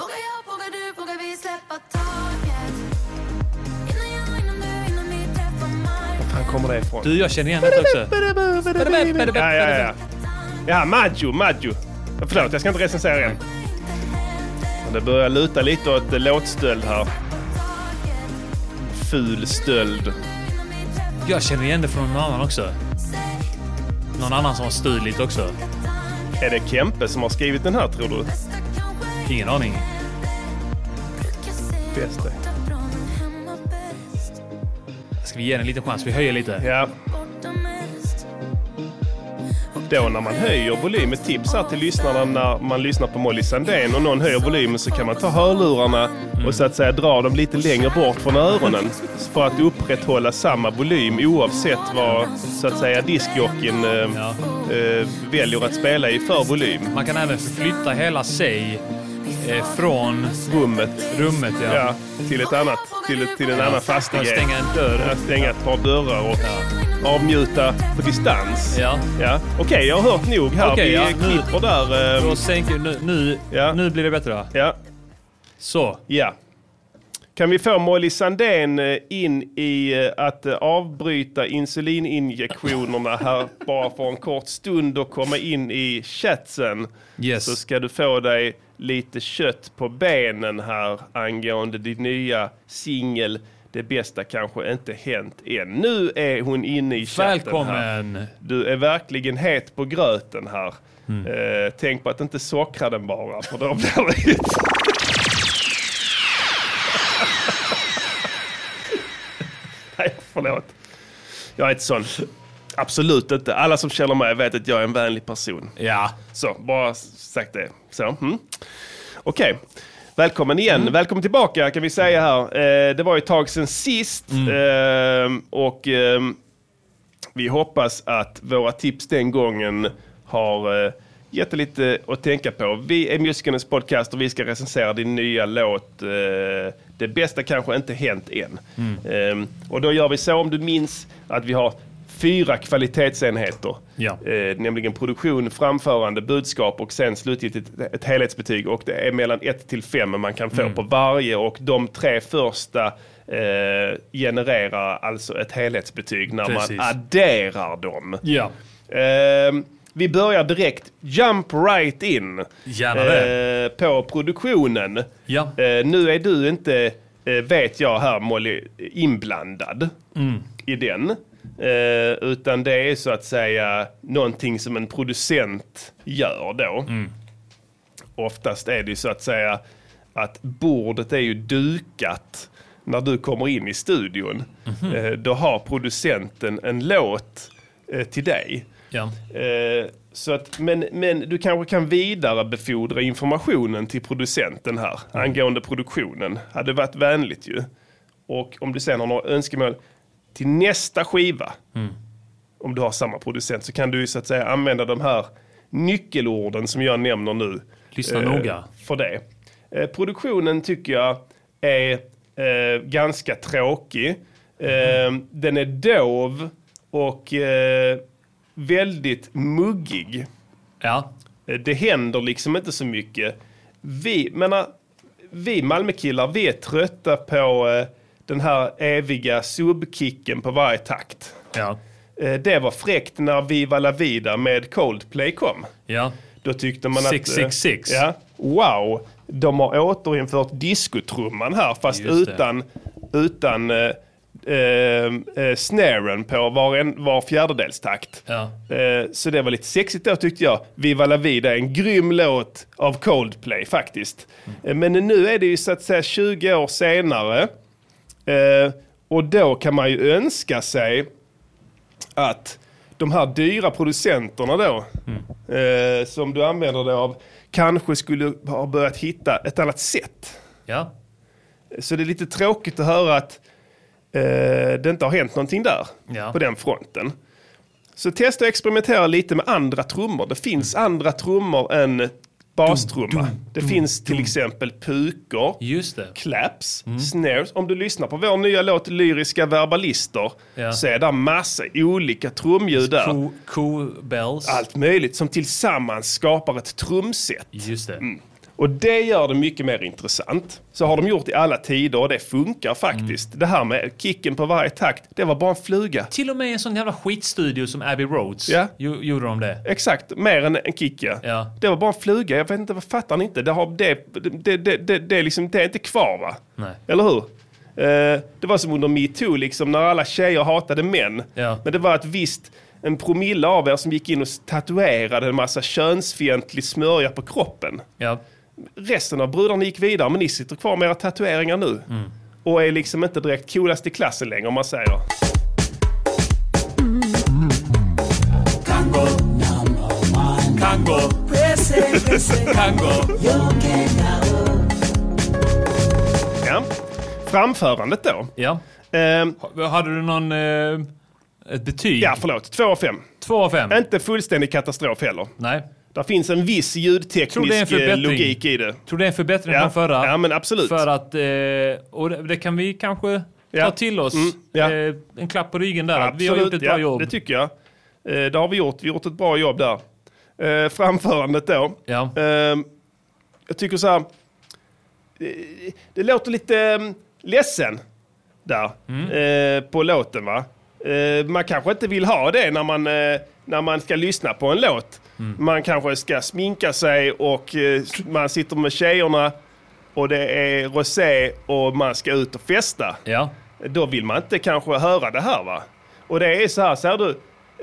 S6: Vågar jag, vågar du, vågar vi släppa taget Innan jag, innan du, innan vi träffar marken
S7: Var kommer det ifrån?
S5: Du, jag känner igen det också.
S7: Ja, ja, ja. Ja, Maggio, Maggio. Förlåt, jag ska inte recensera än. Men Det börjar luta lite åt eh, låtstöld här. Ful stöld.
S5: Jag känner igen det från någon annan också. Någon annan som har stulit också.
S7: Är det Kempe som har skrivit den här tror du?
S5: Ingen aning.
S7: Bästa.
S5: Ska vi ge den en liten chans? Vi höjer lite.
S7: Ja. Då när man höjer volymen, tips här till lyssnarna när man lyssnar på Molly Sandén och någon höjer volymen så kan man ta hörlurarna och så att säga dra dem lite längre bort från öronen för att upprätthålla samma volym oavsett vad så att säga diskjockeyn eh, eh, väljer att spela i för volym.
S5: Man kan även flytta hela sig eh, från
S7: rummet,
S5: rummet ja.
S7: Ja, till ett annat, till, ett, till en annan fastighet.
S5: Att stänga en
S7: dörr. Att stänga ett par dörrar och avmjuta på distans.
S5: Ja.
S7: ja. Okej, jag har hört nog här.
S5: Okej,
S7: Vi
S5: ja, nu-
S7: klipper där. ehm,
S5: Då sänker, nu, nu, nu blir det bättre va?
S7: Ja.
S5: Så.
S7: Ja. Kan vi få Molly Sandén eh, in i eh, att eh, avbryta insulininjektionerna här bara för en kort stund och komma in i chatsen?
S5: Yes.
S7: Så ska du få dig lite kött på benen här angående din nya singel Det bästa kanske inte hänt än. Nu är hon inne i chatten
S5: Välkommen.
S7: här. Du är verkligen het på gröten här. Eh, tänk på att inte sockra den bara, för då blir det ju Nej, förlåt. Jag är inte sån. Absolut inte. Alla som känner mig vet att jag är en vänlig person.
S5: Ja.
S7: Så, bara sagt det. Så, mm. Okej. Välkommen igen. Välkommen tillbaka kan vi säga här. Eh, det var ju ett tag sedan sist. Eh, och eh, vi hoppas att våra tips den gången har eh, gett dig lite att tänka på. Vi är Musikernas podcast och vi ska recensera din nya låt eh, Det bästa kanske inte hänt än.
S5: Mm.
S7: Ehm, och då gör vi så, om du minns, att vi har fyra kvalitetsenheter.
S5: Ja.
S7: Eh, nämligen produktion, framförande, budskap och sen slutgiltigt ett, ett
S5: Mm.
S7: helhetsbetyg. Och det är mellan 1 till 5 man kan få på varje och de tre första
S4: eh, genererar alltså ett helhetsbetyg när
S5: Precis.
S4: man adderar dem.
S5: Ja.
S4: Eh, vi börjar direkt, jump right in.
S5: Gärna det.
S4: eh, På produktionen. Eh, nu är du inte, eh, vet jag här Molly, inblandad
S5: Mm.
S4: i den. Eh, utan det är så att säga någonting som en producent gör då.
S5: Mm.
S4: Oftast är det ju så att säga att bordet är ju dukat när du kommer in i studion.
S5: Mhm.
S4: Eh, då har producenten en låt eh, till dig.
S5: Ja.
S4: Eh, så att, men, men du kanske kan vidarebefordra informationen till producenten här angående produktionen. Hade varit vänligt ju. Och om du sen har några önskemål till nästa skiva,
S5: Mm.
S4: om du har samma producent, så kan du ju så att säga använda de här nyckelorden som jag nämner nu.
S5: Lyssna
S4: eh,
S5: noga.
S4: För det. Eh, produktionen tycker jag är eh, ganska tråkig. Eh, Den är dov och eh, väldigt muggig. Eh,
S5: Ja.
S4: Det händer liksom inte så mycket. Vi, menar, vi Malmökillar, vi är trötta på eh, den här eviga subkicken på varje takt.
S5: Ja.
S4: Eh, det var fräckt när Viva La Vida med Coldplay kom.
S5: Ja.
S4: Då tyckte man att... eh,
S5: 666.
S4: Ja, wow, de har återinfört diskotrumman här fast
S5: Just det.
S4: utan, utan eh, eh, eh, snaren på var, en, var fjärdedels takt.
S5: Ja.
S4: Eh, Så det var lite sexigt då tyckte jag. Viva La Vida är en grym låt av Coldplay faktiskt. Eh, Men nu är det ju så att säga 20 år senare. Eh, Och då kan man ju önska sig att de här dyra producenterna då, eh, som du använder dig av, kanske skulle ha börjat hitta ett annat sätt.
S5: Ja.
S4: Så det är lite tråkigt att höra att eh, det inte har hänt någonting där,
S5: Ja.
S4: på den fronten. Så testa och experimentera lite med andra trummor. Det finns
S5: Mm.
S4: andra trummor än bastrumma. Det finns till exempel pukor, claps,
S5: Mm.
S4: snares. Om du lyssnar på vår nya låt Lyriska verbalister
S5: Ja.
S4: så är det massa olika trumljud där.
S5: Ko- Ko-bells.
S4: Allt möjligt som tillsammans skapar ett trumset.
S5: Just det.
S4: Mm. Och det gör det mycket mer intressant. Så har de gjort i alla tider och det funkar faktiskt.
S5: Mm.
S4: Det här med kicken på varje takt, det var bara en fluga.
S5: Till och med en sån jävla skitstudio som Abbey Roads
S4: Ja.
S5: gjo- gjorde de det.
S4: Exakt, mer än en kick ja.
S5: Ja.
S4: Det var bara en fluga, jag vet inte, vad fattar ni inte? Det, har, det, det, det, det, det, är liksom, det är inte kvar va?
S5: Nej.
S4: Eller hur? Eh, det var som under metoo, liksom, när alla tjejer hatade män.
S5: Ja.
S4: Men det var ett visst, en promille av er som gick in och tatuerade en massa könsfientlig smörja på kroppen.
S5: Ja.
S4: Resten av brudarna gick vidare, men ni sitter kvar med era tatueringar nu.
S5: Mm.
S4: Och är liksom inte direkt coolast i klassen längre om man säger.
S7: Kango. Kango.
S4: Ja. Framförandet då. Ehm.
S5: Ja. Hade du någon... Eh, ett betyg?
S4: Ja, förlåt. Två av fem.
S5: Två av fem?
S4: Inte fullständig katastrof heller.
S5: Nej.
S4: Där finns en viss
S5: Tror det är en
S4: ljudteknisk eh,
S5: förbättring.
S4: logik i det.
S5: Tror det är en förbättring
S4: Ja.
S5: från förra?
S4: Ja, men absolut.
S5: För att... Eh, och det, det kan vi kanske
S4: Ja.
S5: ta till oss.
S4: Mm, ja.
S5: eh, en klapp på ryggen där. att vi
S4: Absolut,
S5: har gjort ett bra
S4: ja,
S5: jobb.
S4: Det tycker jag. Eh, Det har vi gjort. Vi har gjort ett bra jobb där. Eh, Framförandet då.
S5: Ja.
S4: Eh, Jag tycker så här. eh, Det låter lite eh, ledsen där eh, på låten va. Eh, Man kanske inte vill ha det när man, eh, när man ska lyssna på en låt. Man kanske ska sminka sig och eh, man sitter med tjejerna och det är rosé och man ska ut och festa
S5: Ja.
S4: då vill man inte kanske höra det här va? Och det är så här, säger du,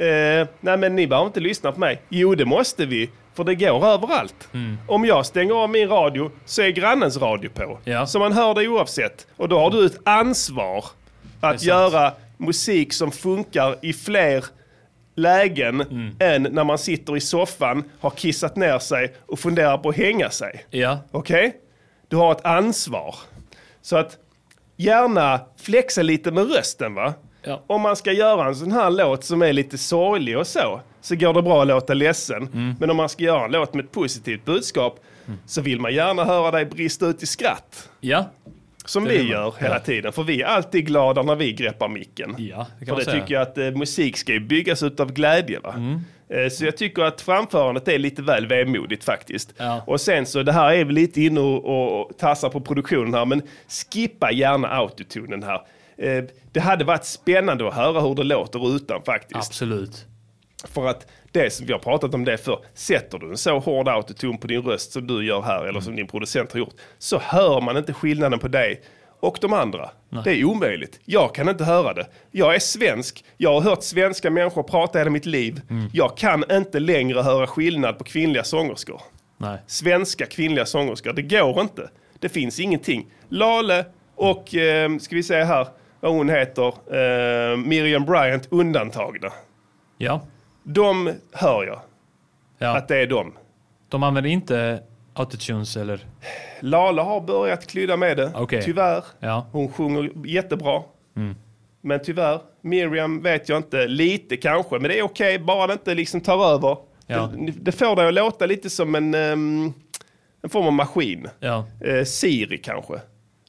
S4: eh, nej men ni behöver inte lyssna på mig. Jo det måste vi, för det går överallt. Om jag stänger av min radio så är grannens radio på. Så man hör det oavsett. Och då har du ett ansvar att göra musik som funkar i fler lägen än när man sitter i soffan, har kissat ner sig och funderar på att hänga sig.
S5: Ja.
S4: Okej? Du har ett ansvar. Så att gärna flexa lite med rösten va? Om man ska göra en sån här låt som är lite sorglig och så, så går det bra att låta ledsen. Men om man ska göra en låt med ett positivt budskap så vill man gärna höra dig brista ut i skratt.
S5: Ja.
S4: Som
S5: Det
S4: vi
S5: vill man.
S4: gör hela
S5: Ja.
S4: tiden, för vi är alltid glada när vi greppar micken.
S5: Ja,
S4: för
S5: det kan man
S4: det
S5: säga. Mm.
S4: tycker jag att eh, musik ska ju byggas utav glädje. Va? Eh, Så jag tycker att framförandet är lite väl vemodigt faktiskt. Och sen så, det här är väl lite inne och, och tassar på produktionen här, men skippa gärna autotunen här. Eh, Det hade varit spännande att höra hur det låter utan faktiskt.
S5: Absolut.
S4: För att det som vi har pratat om det för sätter du en så hård autotune på din röst som du gör här, eller som din producent har gjort, så hör man inte skillnaden på dig och de andra.
S5: Nej.
S4: Det är omöjligt. Jag kan inte höra det. Jag är svensk. Jag har hört svenska människor prata hela mitt liv. Jag kan inte längre höra skillnad på kvinnliga sångerskor.
S5: Nej.
S4: Svenska kvinnliga sångerskor. Det går inte. Det finns ingenting. Lale och, eh, ska vi säga här, vad hon heter, eh, Miriam Bryant undantagna.
S5: Ja.
S4: De hör jag. Att det är de.
S5: De använder inte autotunes eller?
S4: Lala har börjat klydda med det,
S5: Okej.
S4: tyvärr.
S5: Ja.
S4: Hon sjunger jättebra.
S5: Mm.
S4: Men tyvärr, Miriam vet jag inte. Lite kanske, men det är okej. Bara det inte liksom tar över.
S5: Ja.
S4: Det, det får dig att låta lite som en, ehm, en form av maskin.
S5: Ja.
S4: Eh, Siri kanske.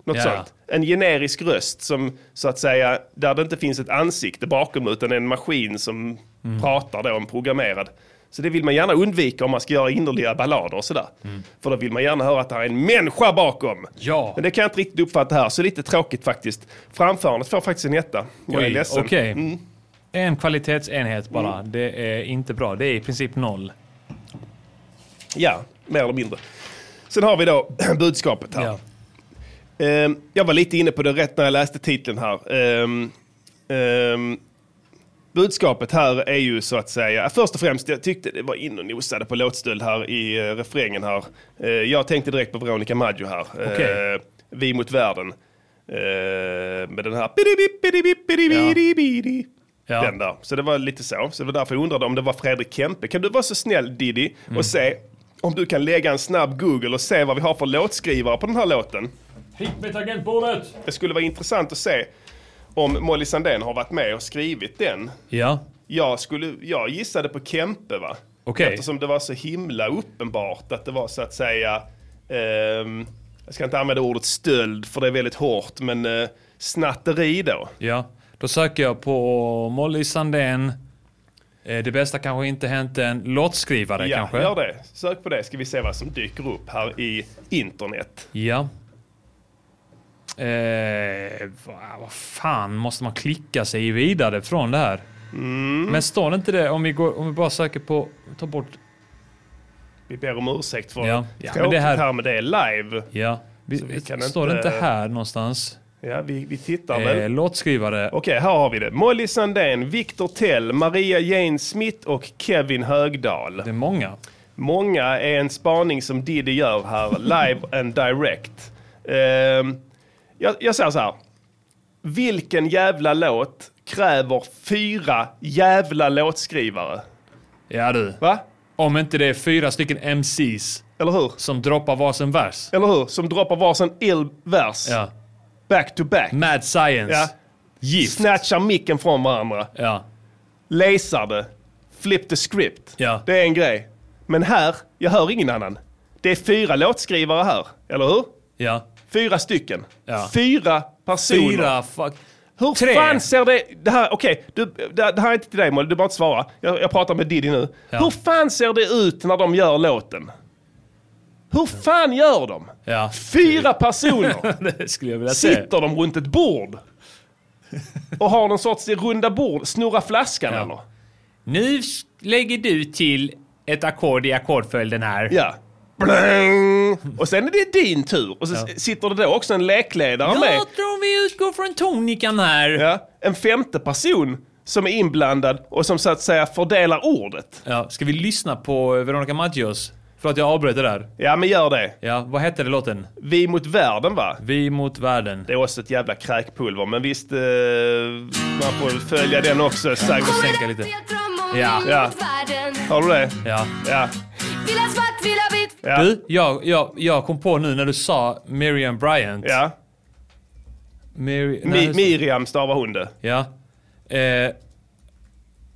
S4: Något
S5: Ja.
S4: sånt. En generisk röst som så att säga, där det inte finns ett ansikte bakom utan en maskin som
S5: Mm.
S4: pratar då, en programmerad. Så det vill man gärna undvika om man ska göra innerliga ballader och sådär. För då vill man gärna höra att det här är en människa bakom.
S5: Mm. Ja.
S4: Men det kan jag inte riktigt uppfatta här, så lite tråkigt faktiskt. Framförandet får faktiskt en etta. Jag är
S5: Oj,
S4: ledsen.
S5: Okej.
S4: Mm.
S5: En kvalitetsenhet bara. Det är inte bra. Det är i princip noll.
S4: Ja, mer eller mindre. Sen har vi då <clears throat> budskapet här. Ehm, jag var lite inne på det rätt när jag läste titeln här. Ehm, ehm, budskapet här är ju så att säga, först och främst, jag tyckte det var in och nosade på låtstöld här i eh, refrängen här. Eh, jag tänkte direkt på Veronica Maggio här.
S5: Okej.
S4: Eh, vi mot världen. Eh, med den här... bidi-bidi-bidi-bidi-bidi.
S5: Ja.
S4: Den där. Så det var lite så. Så det var därför jag undrade om det var Fredrik Kempe. Kan du vara så snäll Diddy
S5: Mm.
S4: och se om du kan lägga en snabb Google och se vad vi har för låtskrivare på den här låten?
S5: Hit med tangentbordet!
S4: Det skulle vara intressant att se om Molly Sandén har varit med och skrivit den.
S5: Ja.
S4: Jag, skulle, jag gissade på Kempe va?
S5: Okej.
S4: Eftersom det var så himla uppenbart att det var så att säga, ehm, jag ska inte använda ordet stöld för det är väldigt hårt, men eh, snatteri då.
S5: Ja. Då söker jag på Molly Sandén. Eh, Det bästa kanske inte hänt en låtskrivare
S4: ja,
S5: kanske?
S4: gör det. Sök på det ska vi se vad som dyker upp här i internet.
S5: Ja. Eh, vad, vad fan måste man klicka sig vidare från det här?
S4: Mm.
S5: Men står inte det om vi, går, om vi bara söker på... Ta bort...
S4: Vi ber om ursäkt för
S5: Ja, ja, men
S4: tråkigt
S5: det här-
S4: här... men det är live.
S5: Ja. Vi,
S4: Så vi kan
S5: står det
S4: inte-
S5: inte här någonstans?
S4: Ja, vi, vi tittar
S5: Eh,
S4: väl.
S5: låtskrivare.
S4: Okej, här har vi det. Molly Sandén, Victor Tell, Maria Jane Smith och Kevin Högdahl. Det
S5: är många.
S4: Många är en spaning som Diddy gör här, <laughs> live and direct. Ehm, jag, jag säger så här. Vilken jävla låt kräver fyra jävla låtskrivare?
S5: Ja du.
S4: Va?
S5: Om inte det är fyra stycken MCs.
S4: Eller hur?
S5: Som droppar varsin vers.
S4: Eller hur? Som droppar varsin ill vers.
S5: Ja.
S4: Back to back.
S5: Mad Science.
S4: Ja.
S5: Gift.
S4: Snatchar micken från varandra.
S5: Ja.
S4: Läsar det. Flip the script. Det är en grej. Men här, jag hör ingen annan. Det är fyra låtskrivare här, eller hur?
S5: Ja.
S4: Fyra stycken.
S5: Ja.
S4: Fyra personer.
S5: Fyra fuck...
S4: Hur
S5: Tre.
S4: fan ser det... det här, okej, du- det, det här är inte till dig Molly, du bara inte svara. Jag, jag pratar med Diddy nu. Hur fan ser det ut när de gör låten? Hur fan gör de? <laughs>
S5: Ja.
S4: Fyra
S5: <laughs>
S4: personer!
S5: det skulle jag vilja säga.
S4: Sitter de runt ett bord? Och har någon sorts runda bord, snurra flaskan eller?
S2: Nu s- lägger du till ett ackord i ackordföljden här.
S4: Ja. Bling! Och sen är det din tur. Och så s- sitter det då också en lekledare
S2: Jag
S4: med.
S2: tror vi utgår från tonikan här.
S4: Ja. En femte person som är inblandad och som så att säga fördelar ordet.
S5: Ja, ska vi lyssna på eh, Veronica Maggios? För att jag avbröt det där.
S4: Ja, men gör det.
S5: Ja, vad hette det låten?
S4: Vi mot världen va?
S5: Vi mot världen.
S4: Det är också ett jävla kräkpulver, men visst, eh, man får väl följa den också. Säkert.
S13: Kommer
S5: sänka lite.
S13: Jag drömmer om
S4: Ja.
S13: min
S4: Ja.
S13: mot världen.
S4: Har du det?
S5: Ja.
S4: Ja.
S13: Vill ha svart, vill ha vitt.
S5: Du, jag, jag, jag kom på nu när du sa Miriam Bryant.
S4: Ja.
S5: Mir- nej,
S4: Mi- Miriam stavar hon det.
S5: Ja. Eh,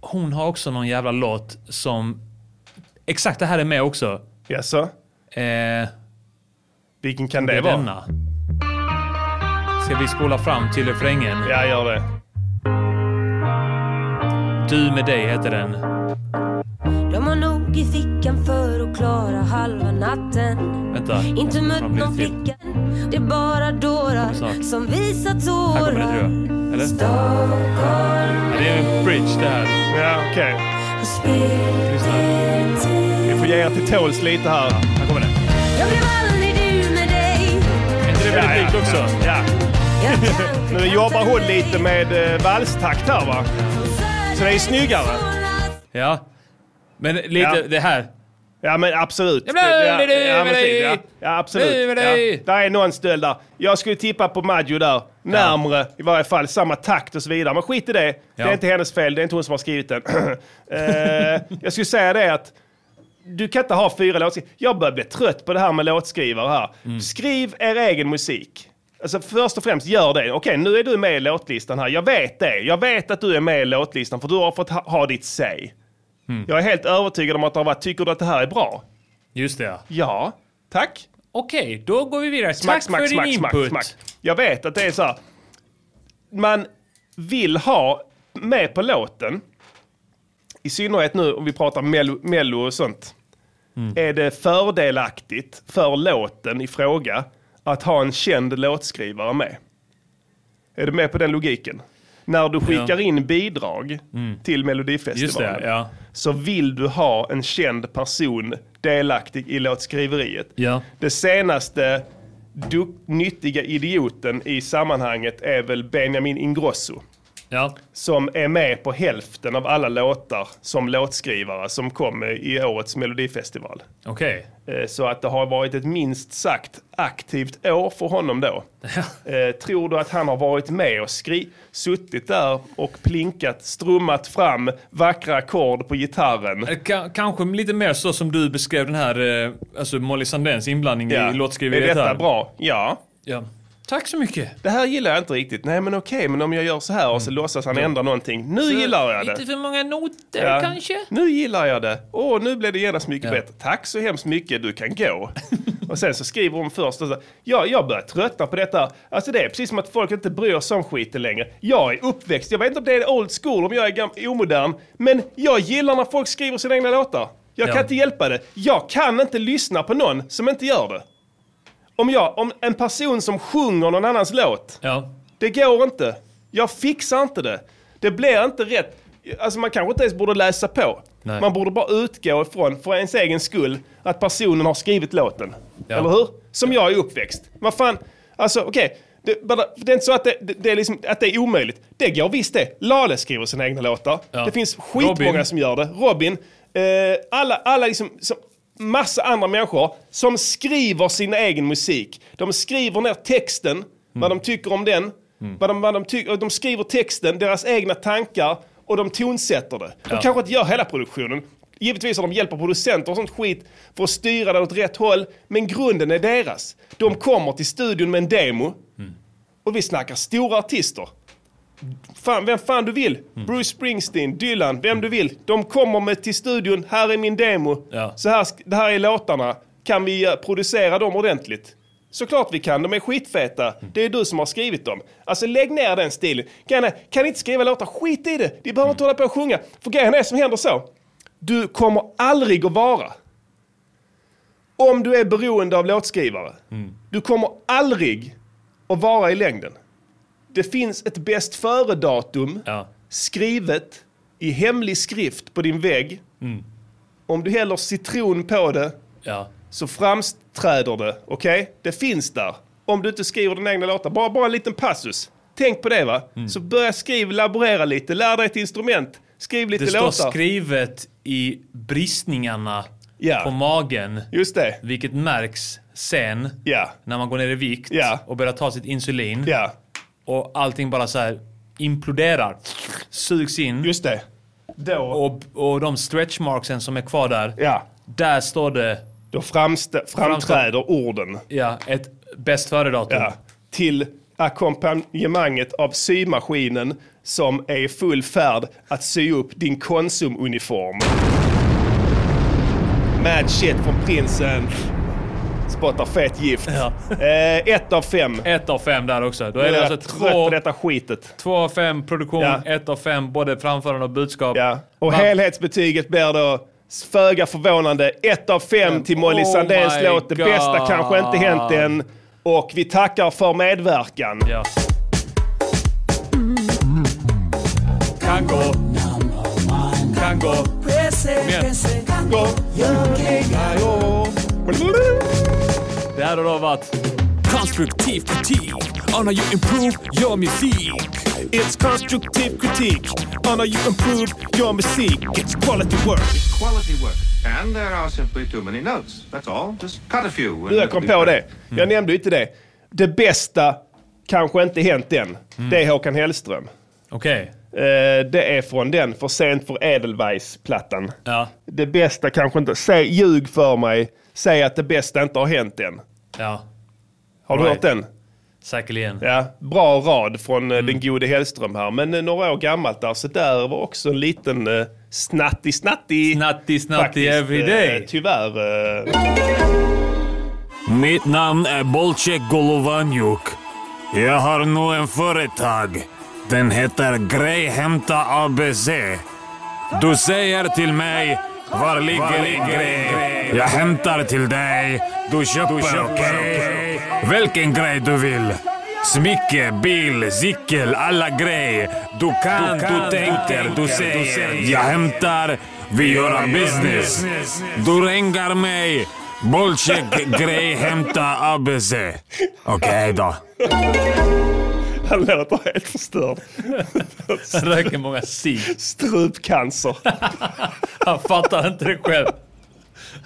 S5: hon har också någon jävla låt som... Exakt det här är med också.
S4: Jaså?
S5: Eh,
S4: Vilken kan
S5: det,
S4: det
S5: är
S4: vara?
S5: denna. Ska vi spola fram till refrängen?
S4: Ja, gör det.
S5: Du med dig heter den.
S14: flickan för att klara halva natten.
S5: Vänta.
S14: Inte
S5: Man
S14: mött
S5: blir
S14: någon
S5: till.
S14: flicka, det är bara dårar
S5: snart.
S14: som visar
S5: Här kommer det tror
S14: tårar.
S5: jag. Eller? Ja, det är en bridge det här.
S7: Ja, okej.
S5: Lyssna.
S7: Vi får ge er till tåls lite här. Här kommer den.
S14: Jag blev aldrig du med dig.
S7: Är inte det
S5: väldigt likt också?
S7: Ja. <laughs> nu jobbar hon lite med eh, valstakt här va? Så det är snyggare.
S5: Ja. Men lite det här.
S7: Ja men absolut.
S5: Ja, men det är du
S7: ja,
S5: med
S7: precis,
S5: dig.
S7: ja. ja
S5: Du
S7: absolut.
S5: med
S7: Ja.
S5: dig.
S7: Där är någon stöld där. Jag skulle tippa på Maggio där. Närmre i varje fall. Samma takt och så vidare. Men skit i det. Det är
S5: Ja.
S7: inte hennes fel. Det är inte hon som har skrivit den. <clears throat> Eh, jag skulle säga det att du kan inte ha fyra låtskrivare. Jag börjar bli trött på det här med låtskrivare här. Skriv er egen musik. Alltså först och främst, gör det. Okej, nu är du med i låtlistan här. Jag vet det. Jag vet att du är med i låtlistan för du har fått ha, ha ditt säg. Jag är helt övertygad om att det har varit, tycker du att det här är bra?
S5: Just det.
S7: Ja, tack.
S5: Okej, då går vi vidare.
S7: Smack,
S5: Tack
S7: smack,
S5: för
S7: smack,
S5: din
S7: smack,
S5: input.
S7: smack. Jag vet att det är så här. Man vill ha med på låten, i synnerhet nu om vi pratar mello, mello och sånt,
S5: Mm.
S7: är det fördelaktigt för låten i fråga att ha en känd låtskrivare med? Är du med på den logiken? När du skickar in bidrag till Melodifestivalen
S5: Mm. Just det, ja.
S7: så vill du ha en känd person delaktig i låtskriveriet.
S5: Ja.
S7: Det senaste du- nyttiga idioten i sammanhanget är väl Benjamin Ingrosso.
S5: Ja.
S7: Som är med på hälften av alla låtar som låtskrivare som kom i årets melodifestival.
S5: Okej.
S7: Eh, Så att det har varit ett minst sagt aktivt år för honom då. Eh, Tror du att han har varit med och skri- suttit där och plinkat, strummat fram vackra ackord på gitarren?
S5: Eh, ka- Kanske lite mer så som du beskrev den här, eh, alltså Molly Sandéns inblandning i låtskriveriet
S7: Är detta
S5: här.
S7: bra? Ja.
S5: Ja. Tack så mycket.
S7: Det här gillar jag inte riktigt. Nej men okej, men om jag gör så här
S5: Mm.
S7: och så låtsas han ändra någonting. Nu gillar jag det.
S5: Lite för många noter
S7: Ja.
S5: kanske?
S7: Nu gillar jag det. Åh, nu blev det genast mycket bättre. Tack så hemskt mycket, du kan
S5: <laughs>
S7: gå. och sen så skriver hon först och så, ja, jag börjar tröttna på detta. Alltså det är precis som att folk inte bryr sig om skiten längre. Jag är uppväxt, jag vet inte om det är old school, om jag är gam- omodern, men jag gillar när folk skriver sina egna låtar. Jag kan
S5: Ja.
S7: inte hjälpa det. Jag kan inte lyssna på någon som inte gör det. Om, jag, om en person som sjunger någon annans låt,
S5: Ja.
S7: det går inte. Jag fixar inte det. Det blir inte rätt. Alltså man kanske inte ens borde läsa på.
S5: Nej.
S7: Man borde bara utgå ifrån, för ens egen skull, att personen har skrivit låten. Eller hur? Som jag är uppväxt. Vad fan, alltså okej. Det, bara- det är inte så att det, det, det är liksom, att det är omöjligt. Det går visst det. Lale skriver sina egna låtar. Det finns skitmånga
S5: Robin.
S7: som gör det. Robin. Eh, alla, alla liksom, som, massa andra människor som skriver sin egen musik. De skriver ner texten, vad
S5: Mm.
S7: de tycker om den. Vad de, vad de, tycker- och de skriver texten, deras egna tankar och de tonsätter det. De
S5: Ja.
S7: kanske inte gör hela produktionen. Givetvis har de hjälp av producenter och sånt skit för att styra den åt rätt håll. Men grunden är deras. De kommer till studion med en demo. Och vi snackar stora artister. Fan, vem fan du vill. Bruce Springsteen, Dylan, vem du vill. De kommer med till studion, här är min demo.
S5: Ja.
S7: Så här, sk- det här är låtarna. Kan vi eh, producera dem ordentligt? Såklart vi kan, de är skitfeta. Det är du som har skrivit dem. Alltså lägg ner den stilen. Kan, kan ni inte skriva låtar? Skit i det! Ni behöver inte hålla på och sjunga. För grejen är som händer så. Du kommer aldrig att vara. Om du är beroende av låtskrivare.
S5: Mm.
S7: Du kommer aldrig att vara i längden. Det finns ett bäst före-datum
S5: Ja.
S7: skrivet i hemlig skrift på din vägg.
S5: Mm.
S7: Om du häller citron på det
S5: Ja.
S7: så framträder det. Okej? Det finns där. Om du inte skriver dina egna låtar. Bara, bara en liten passus. Tänk på det va.
S5: Mm.
S7: Så börja skriva, laborera lite, lär dig ett instrument. Skriv lite
S5: Det står
S7: låtar.
S5: skrivet i bristningarna
S7: Ja.
S5: på magen.
S7: Just det.
S5: Vilket märks sen
S7: Ja.
S5: när man går ner i vikt
S7: Ja.
S5: och börjar ta sitt insulin.
S7: Ja.
S5: Och allting bara så här imploderar. Sugs in.
S7: Just det. Då.
S5: Och, och de stretchmarksen som är kvar där.
S7: Ja.
S5: Där står det
S7: Då framstä- framträder orden.
S5: ja, ett bäst före-datum.
S7: Ja. Till ackompanjemanget av symaskinen som är i full färd att sy upp din Konsumuniform. Mad shit från prinsen. Spottar fett gift. Eh, ett av fem.
S5: Ett av fem där också. Då
S7: Nu
S5: är
S7: är
S5: det
S7: jag
S5: alltså
S7: trött
S5: två,
S7: på detta skitet.
S5: två av fem produktion,
S7: Ja.
S5: ett av fem både framförande och budskap.
S7: Ja. Och
S5: Va-
S7: helhetsbetyget blir då
S4: Föga förvånande, ett av fem till Molly
S5: Oh
S4: Sandéns
S5: my
S4: låt Det bästa
S5: God.
S4: kanske inte hänt än. Och vi tackar för medverkan.
S5: Kan gå. Kan gå. Det här har då varit...
S12: Konstruktiv kritik on how you improve your music.
S7: It's constructive critique on how you improve your music. It's quality work.
S6: Quality work. And there are simply too many notes. That's all. Just cut a few. and
S4: Nu jag
S6: it'll
S4: kom
S6: be
S4: på det.
S6: perfect.
S4: Jag nämnde ju inte det. Det bästa kanske inte hänt än. Det är Håkan Hellström.
S5: Mm. Okej.
S4: Eh, det är från den, För sent för Edelweiss-plattan. Det bästa kanske inte... Säg, ljug för mig. Säg att det bästa inte har hänt än.
S5: Ja.
S4: Har du
S5: Right.
S4: hört den?
S5: Säkerligen.
S4: Ja, bra rad från eh,
S5: Mm.
S4: den gode Hellström här. Men eh, några år gammalt där, så där var också en liten eh, snatti, snatti.
S5: Snatti, snatti
S7: eh,
S5: every day.
S4: eh, tyvärr. Eh,
S15: Mitt namn är Bolcek Golovanjuk. Jag har nu en företag. Den heter Grejhämta ABC. Du säger till mig var ligger grej? Jag hämtar till dig. Du köper, okej? Vilken grej du vill. Smycke, bil, cykel, alla grejer. Du kan, du, tänker, du säger. Jag hämtar, vi gör business. Du ringer mig. Bolcheck grej <laughs> hämta ABC. Okej då.
S4: Han låter helt förstörd. <laughs>
S5: Han röker många cigg.
S4: Strupcancer.
S5: Han fattar inte det själv.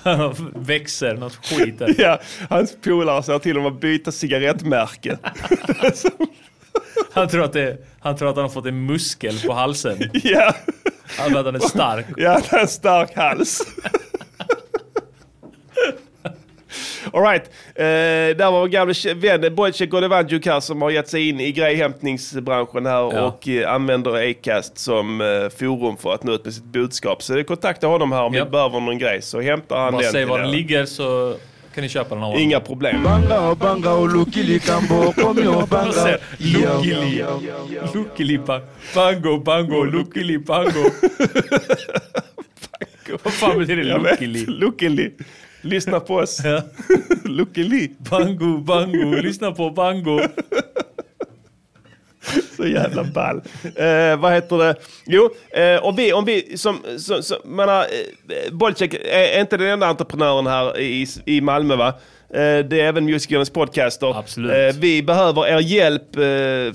S5: Han växer något skit där.
S4: ja, hans polare sa till honom att byta cigarettmärke. <laughs>
S5: Han, tror att det, han tror att han har fått en muskel på halsen.
S4: <laughs> ja.
S5: Han tror att han är stark.
S4: Ja, det är en stark hals. <laughs> Alright, eh, där var vår gamle kä- vän eh, Bojcek Olevanjuk här som har gett sig in i grejhämtningsbranschen här
S5: Ja.
S4: och eh, använder Acast som eh, forum för att nå ut med sitt budskap. Så det kontakta honom här om ni behöver någon grej så hämtar han
S5: Bara
S4: den.
S5: säg
S4: till
S5: var
S4: er.
S5: den ligger så kan ni köpa den av honom.
S4: Inga problem.
S5: Jag ser, <laughs> Luckili. Luckilipa. Bango, bango, luckili, bango. <laughs> Vad fan betyder
S4: Jag vet.
S5: luckili?
S4: Luckily. Lyssna på oss. <laughs> Luckily.
S5: Bango, bango, lyssna på bango.
S4: Så jävla ball. Eh, vad heter det? Jo, eh, om vi, om vi som, som, som man har, eh, Bolcek är är inte den enda entreprenören här i, i Malmö va? Eh, Det är även Musikernas podcaster. Eh, Vi behöver er hjälp eh,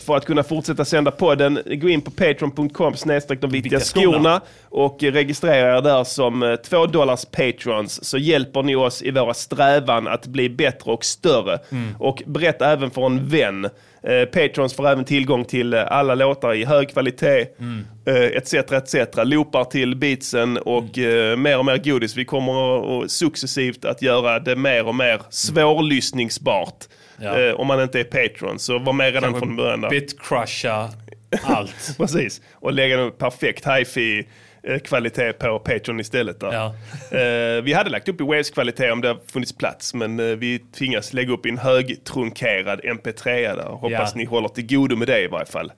S4: för att kunna fortsätta sända podden. Gå in på patreon.com snedstreck de viktiga skorna och eh, registrera er där som 2 dollars patrons så hjälper ni oss i våra strävan att bli bättre och större.
S5: Mm.
S4: Och berätta även för en vän. Eh, patrons får även tillgång till eh, alla låtar i hög kvalitet Mm. etc. etc. Loopar till beatsen och eh, mer och mer godis. Vi kommer att- att successivt att göra det mer och mer svårlyssningsbart.
S5: Ja.
S4: Eh, om man inte är Patreon, så var med redan
S5: Kanske
S4: från början. där.
S5: Bitcrusha
S4: <laughs>
S5: allt.
S4: Precis, och lägga en perfekt hifi eh, kvalitet på Patreon istället. Där. Eh, vi hade lagt upp i Waves-kvalitet om det hade funnits plats, men eh, vi tvingas lägga upp i en högtrunkerad MP3 där. Hoppas
S5: Ja.
S4: ni håller till godo med det i varje fall.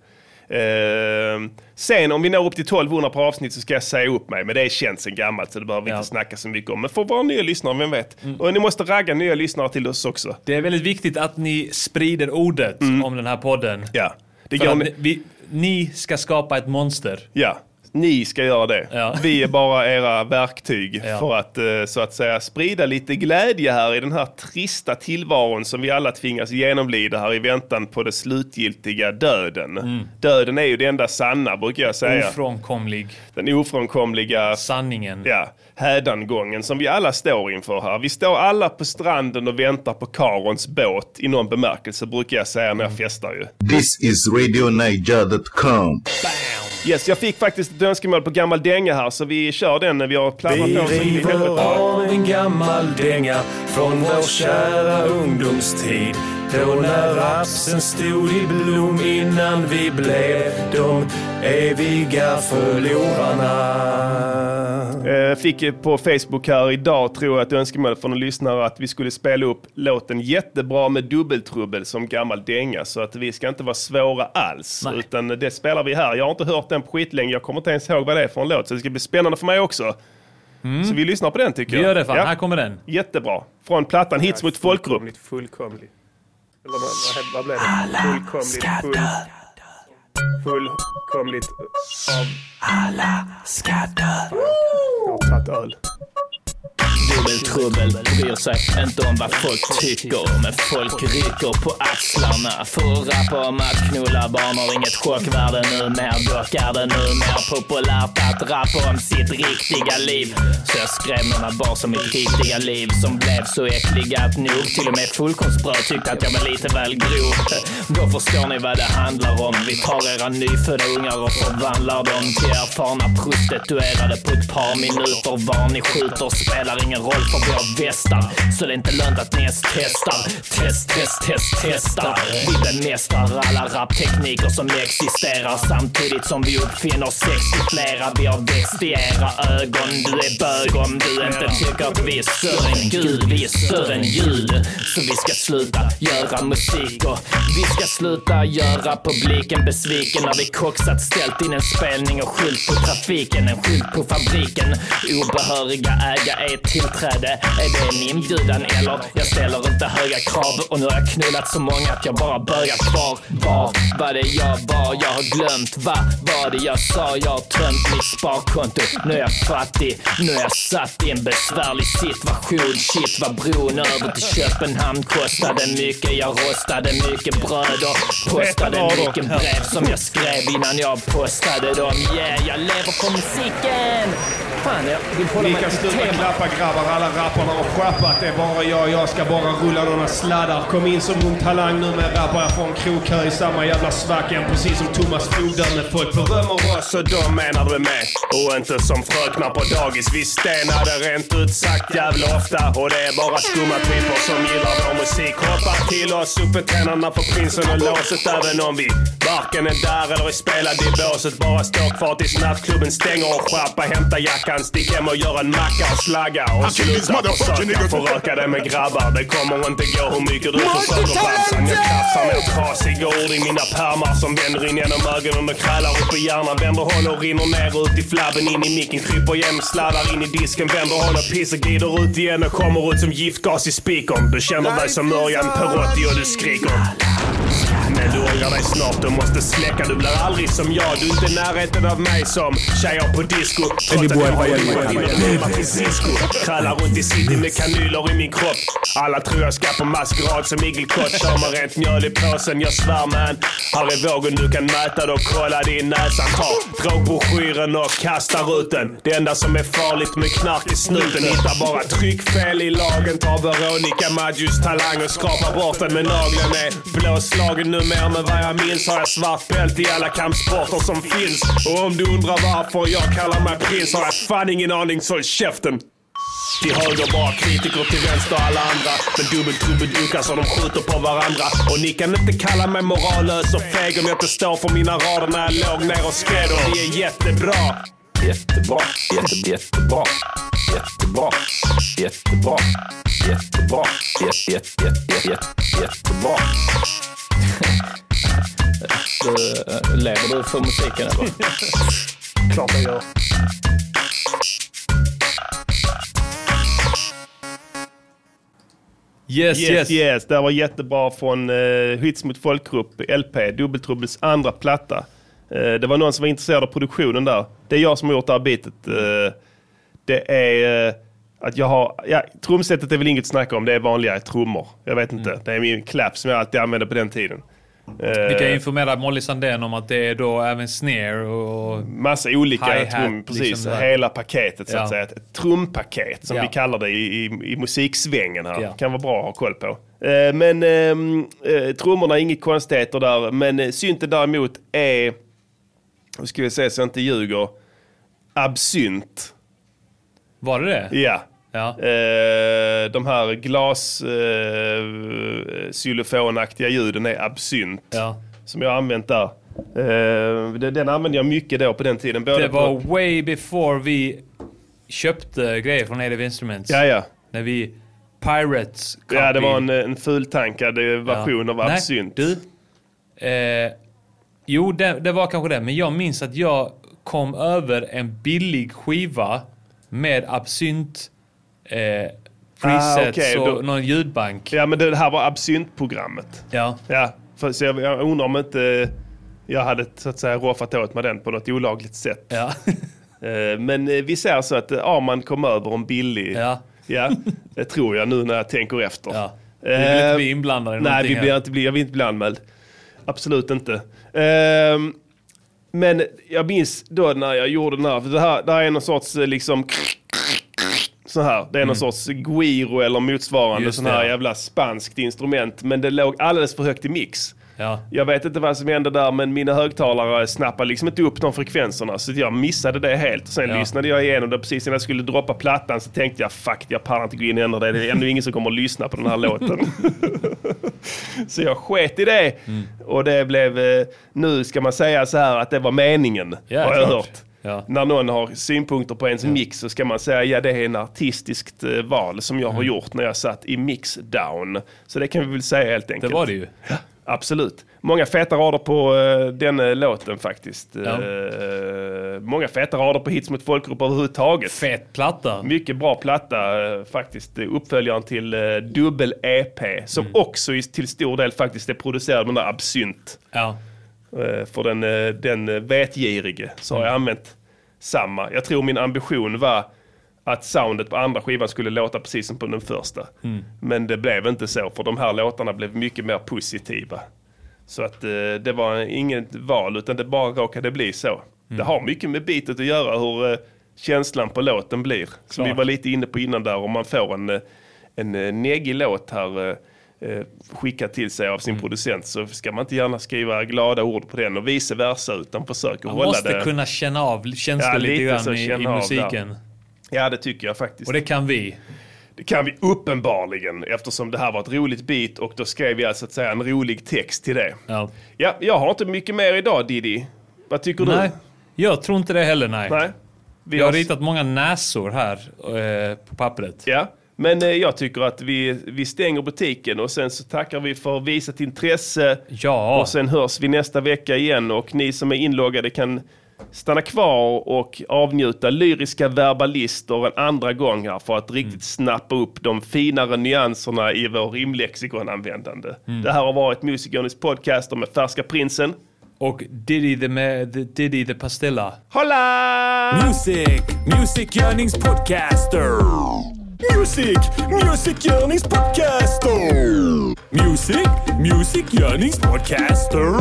S4: Eh, sen om vi når upp till 1200 per avsnitt så ska jag säga upp mig, men det känns sen gammalt så det behöver vi inte snacka så mycket om. Men för våra nya lyssnare, vem vet?
S5: Mm.
S4: Och ni måste ragga nya lyssnare till oss också.
S5: Det är väldigt viktigt att ni sprider ordet om den här podden.
S4: Mm. Ja. Det
S5: För
S4: går
S5: att
S4: med-
S5: ni, vi, ni ska skapa ett monster.
S4: Ja, ni ska göra det. Vi är bara era verktyg för att eh, så att säga sprida lite glädje här i den här trista tillvaron som vi alla tvingas genomlida här i väntan på den slutgiltiga döden.
S5: Mm.
S4: Döden är ju det enda sanna brukar jag säga.
S5: Ofrånkomlig.
S4: Den ofrånkomliga
S5: sanningen.
S4: Ja, hädangången som vi alla står inför här. Vi står alla på stranden och väntar på Karons båt i någon bemärkelse brukar jag säga när jag
S5: Mm.
S4: festar ju.
S9: This is RadioNiger.com.
S4: Yes, jag fick faktiskt ett önskemål på gammal dänga här så vi kör den. Vi har planerat
S3: Vi
S4: på oss Eh, in i
S3: river
S4: helvete.
S3: av en gammal dänga från vår kära ungdomstid. Då när rapsen stod i blom innan vi blev de eviga förlorarna.
S4: Eh, Fick eh, på Facebook här idag, tror jag, ett önskemål från en lyssnare att vi skulle spela upp låten Jättebra med dubbeltrubbel som gammal dänga. Så att vi ska inte vara svåra alls. Utan det spelar vi här. Jag har inte hört den på skitlänge. Jag kommer inte ens ihåg vad det är för en låt. Så det ska bli spännande för mig också. Så vi lyssnar på den tycker jag.
S5: Mm. Vi gör det fan. Här kommer den.
S4: Jättebra. Från plattan Hits mot folkgrupp.
S16: Fullkomligt, fullkomligt. Eller vad, vad- vad blev det? Fullkomligt, full, fullkomligt av... Alla ska dö. Jag har tagit öl.
S2: Bubbeltrubbel bryr sig inte om vad folk tycker Men folk rycker på axlarna För att rappa om att knulla barn har inget chockvärde numera Dock är det numera populärt att rappa om sitt riktiga liv Så jag skrev några bars om mitt riktiga liv Som blev så äckliga att nog till och med fullkornsbröd tyckte att jag var lite väl grov Då förstår ni vad det handlar om Vi tar era nyfödda ungar och förvandlar dem till erfarna prostituerade på ett par minuter Var ni skjuter spelar ingen roll för vi har västar Så det är inte lönt att ni ens testar Test, test, test, testar Vi bemästrar alla raptekniker som existerar Samtidigt som vi uppfinner 60 flera Vi har växt i era ögon Du är bög om du inte tycker att vi är större än Gud Vi är större än ljud Så vi ska sluta göra musik och vi ska sluta göra publiken besviken När vi koxat ställt in en spelning och skylt på trafiken En skylt på fabriken Obehöriga äga ett tillträde Är det en inbjudan eller? Jag ställer inte höga krav Och nu har jag knullat så många att jag bara börjat kvar Var var det jag var? Jag har glömt Vad var det jag sa? Jag har tömt mitt sparkonto Nu är jag fattig Nu är jag satt i en besvärlig situation Shit vad bron över till Köpenhamn kostade mycket Jag rostade mycket bröd och postade mycket brev som jag skrev innan jag postade dem Yeah, jag lever på musiken! Fan, jag vill hålla
S16: Ni
S2: mig
S16: kan
S2: till
S16: sluta
S2: temat.
S16: klappa grabbar, alla rapparna har sjappat. Det är bara jag, jag ska bara rulla några sladdar. Kom in som ung talang nu med rappar jag från krokö i samma jävla svack igen. Precis som Thomas Fogdar när folk berömmer oss.
S7: Så de menar du med och inte som fröknar på dagis. Vi stenade rent ut sagt jävla ofta och det är bara skumma typer som gillar vår musik. Hoppar till oss uppe tränarna på prinsen och låset även om vi varken är där eller är spelade i båset. Bara står kvar tills nattklubben stänger och skärpa, hämta jackan, stick hem och gör en macka och slagga och sluta försöka föröka dig med grabbar. Det kommer inte gå hur mycket du försöker chansa. Jag krafsar ner trasiga ord i mina pärmar som vänder in genom ögonen och krälar upp i hjärnan. Vänder hål och rinner ner ut i flabben, in i micken, kryper igen, sladdar in i disken. Vänder hål och pissar, glider ut igen och kommer ut som giftgas i spikon. Du känner dig som Örjan Perotti och du skriker. Men du ångrar dig snart, du måste släcka. Du blir aldrig som jag. Du är inte i närheten av mig som tjejer på disco. Trots att jag har en innerlimma till Cisco. Krälar runt i city med kanyler i min kropp. Alla tror jag ska på maskerad som igelkott. Kör med rent mjöl i påsen, jag svär man. Här är vågen, du kan mäta det och kolla det i näsan. Ta drogbroschyren och kasta ut den. Det enda som är farligt med knark är snuten. Hittar bara tryckfel i lagen. Tar Veronica Maggios talang och skrapar bort den med nageln. Är blåslagen numera men vad jag minns har jag svart bälte i alla kampsporter som finns. Och om du undrar varför jag kallar mig prins har jag fan ingen aning, så håll käften. Till höger bara kritiker, till vänster alla andra. Men dubbeltrubbedukar så de skjuter på varandra. Och ni kan inte kalla mig morallös och feg om jag inte står för mina rader när jag låg ner och skrev dem. Det är jättebra. Jättebra, jätte, jättebra, jättebra, jättebra, jättebra, jätte, jätte, jätte, jätte, jättebra.
S2: Du, eh, lever du för musiken eller?
S16: Klart jag gör.
S5: Yes,
S4: yes,
S5: yes.
S4: yes. Det här var jättebra från eh, Hits mot folkgrupp, LP, Dubbeltrubbels andra platta. Eh, det var någon som var intresserad av produktionen där. Det är jag som har gjort det här bitet. Eh, det är eh, att jag har, ja, trumsetet är väl inget att snacka om, det är vanliga trummor. Jag vet inte, det är min klapp som jag alltid använde på den tiden.
S5: Vi
S4: Eh,
S5: kan informera Molly Sandén om att det är då även snare och...
S4: Massa olika
S5: hi-hat,
S4: trum, precis.
S5: liksom där.
S4: hela paketet så
S5: Ja.
S4: att säga. Ett trumpaket som
S5: Ja.
S4: vi kallar det i, i, i musiksvängen här.
S5: Ja.
S4: Kan vara bra att ha koll på. Eh, Men ehm, eh, trummorna är inget konstigheter där. Men eh, synten däremot är, nu ska vi se så jag inte ljuger, absynt.
S5: Var det det?
S4: Ja.
S5: Ja.
S4: Eh, de här glas eh, xylofonaktiga ljuden är absynt. Som jag har använt där. Eh, den, den använde jag mycket då på den tiden. Både
S5: Det
S4: på-
S5: var way before vi köpte grejer från Native Instruments.
S4: Ja, ja.
S5: När vi... Pirates
S4: Ja, det
S5: copy.
S4: var en, en fultankad eh, version av
S5: Nej,
S4: absynt.
S5: du. Eh, jo, det, det var kanske det. Men jag minns att jag kom över en billig skiva med absynt eh, presets
S7: Ah, okej,
S5: och
S7: då-
S5: någon ljudbank.
S7: Ja, men det här var absintprogrammet.
S5: Ja.
S7: ja för, så jag, jag undrar om inte eh, jag hade så att säga roffat åt mig den på något olagligt sätt.
S5: Ja. <laughs>
S7: men eh, vi ser så att eh, Arman kom över en billig. Ja. ja, det tror jag nu när jag tänker efter. Ja.
S5: Vi vill inte bli inblandade i
S7: Eh, Nej,
S5: någonting
S7: vi
S5: här.
S7: blir inte, bli- jag vill inte bli anmäld. Absolut inte. Ehm, men jag minns då när jag gjorde den här, för det här, det här är någon sorts eh, liksom så här. Det är någon sorts guiro eller motsvarande
S5: Mm. Just
S7: sån
S5: det,
S7: här
S5: ja.
S7: jävla spanskt instrument. Men det låg alldeles för högt i mix.
S5: Ja.
S7: Jag vet inte vad som hände där men mina högtalare snappade liksom inte upp de frekvenserna så att jag missade det helt. Sen
S5: Ja.
S7: lyssnade jag igenom det precis innan jag skulle droppa plattan så tänkte jag fuck jag pallar inte gå in och ändra det. Det är ännu ingen som kommer att lyssna på den här
S5: <laughs>
S7: låten. så jag sket i det.
S5: Mm.
S7: Och det blev, eh, nu ska man säga så här att det var meningen.
S5: Ja,
S7: har jag
S5: klart.
S7: hört.
S5: Ja.
S7: När någon har synpunkter på ens mix så ska man säga ja det är en artistiskt eh, val som jag
S5: Mm.
S7: har gjort när jag satt i mixdown. Så det kan vi väl säga helt enkelt.
S5: var det ju.
S7: Ja, absolut. Många feta rader på eh, den eh, låten faktiskt.
S5: Ja.
S7: Eh, många feta rader på hits mot folkgrupp överhuvudtaget.
S5: Fet platta.
S7: Mycket bra platta eh, faktiskt. Eh, Uppföljaren till eh, dubbel-EP som
S5: Mm.
S7: också i- till stor del faktiskt är producerad med den där absynt.
S5: Ja.
S7: Eh, För den, eh, den eh, vetgirige så
S5: Mm.
S7: har jag använt samma. Jag tror min ambition var att soundet på andra skivan skulle låta precis som på den första.
S5: Mm.
S7: Men det blev inte så för de här låtarna blev mycket mer positiva. Så att eh, det var inget val utan det bara råkade bli så.
S5: Mm.
S7: Det har mycket med bitet att göra hur eh, känslan på låten blir. Som vi
S5: Klart.
S7: var lite inne på innan där om man får en, eh, en eh, neggig låt här eh, eh, skickad till sig av sin
S5: Mm.
S7: producent så ska man inte gärna skriva glada ord på den och vice versa utan försöka
S5: Man
S7: hålla
S5: måste
S7: det.
S5: kunna känna av känslor
S7: Ja,
S5: lite,
S7: lite så
S5: grann i, i
S7: känna av
S5: musiken.
S7: där. Ja, det tycker jag faktiskt.
S5: Och det kan vi.
S7: Det kan vi uppenbarligen eftersom det här var ett roligt bit och då skrev jag så att säga en rolig text till det.
S5: Ja.
S7: Ja, jag har inte mycket mer idag Diddy. Vad tycker
S5: Nej,
S7: du?
S5: jag tror inte det heller. Nej.
S7: Nej. Vi
S5: jag har
S7: har-
S5: ritat många näsor här eh, på pappret.
S7: Ja, men eh, jag tycker att vi, vi stänger butiken och sen så tackar vi för visat intresse.
S5: Ja.
S7: Och sen hörs vi nästa vecka igen och ni som är inloggade kan stanna kvar och avnjuta lyriska verbalister en andra gång här för
S5: Mm.
S7: att riktigt snappa upp de finare nyanserna i vår rimlexikonanvändande.
S5: Mm.
S7: Det här har varit Musikernes podcaster med Färska Prinsen.
S5: Och Diddy the, med, the, Diddy the Pastilla.
S7: Hola!
S17: Music, Music Yearnings Podcaster.
S2: Music, Music Yearnings Podcaster. Music, Music Yearnings Podcaster.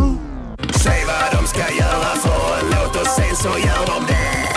S18: Säg vad de ska göra för en låt och sen så gör de det.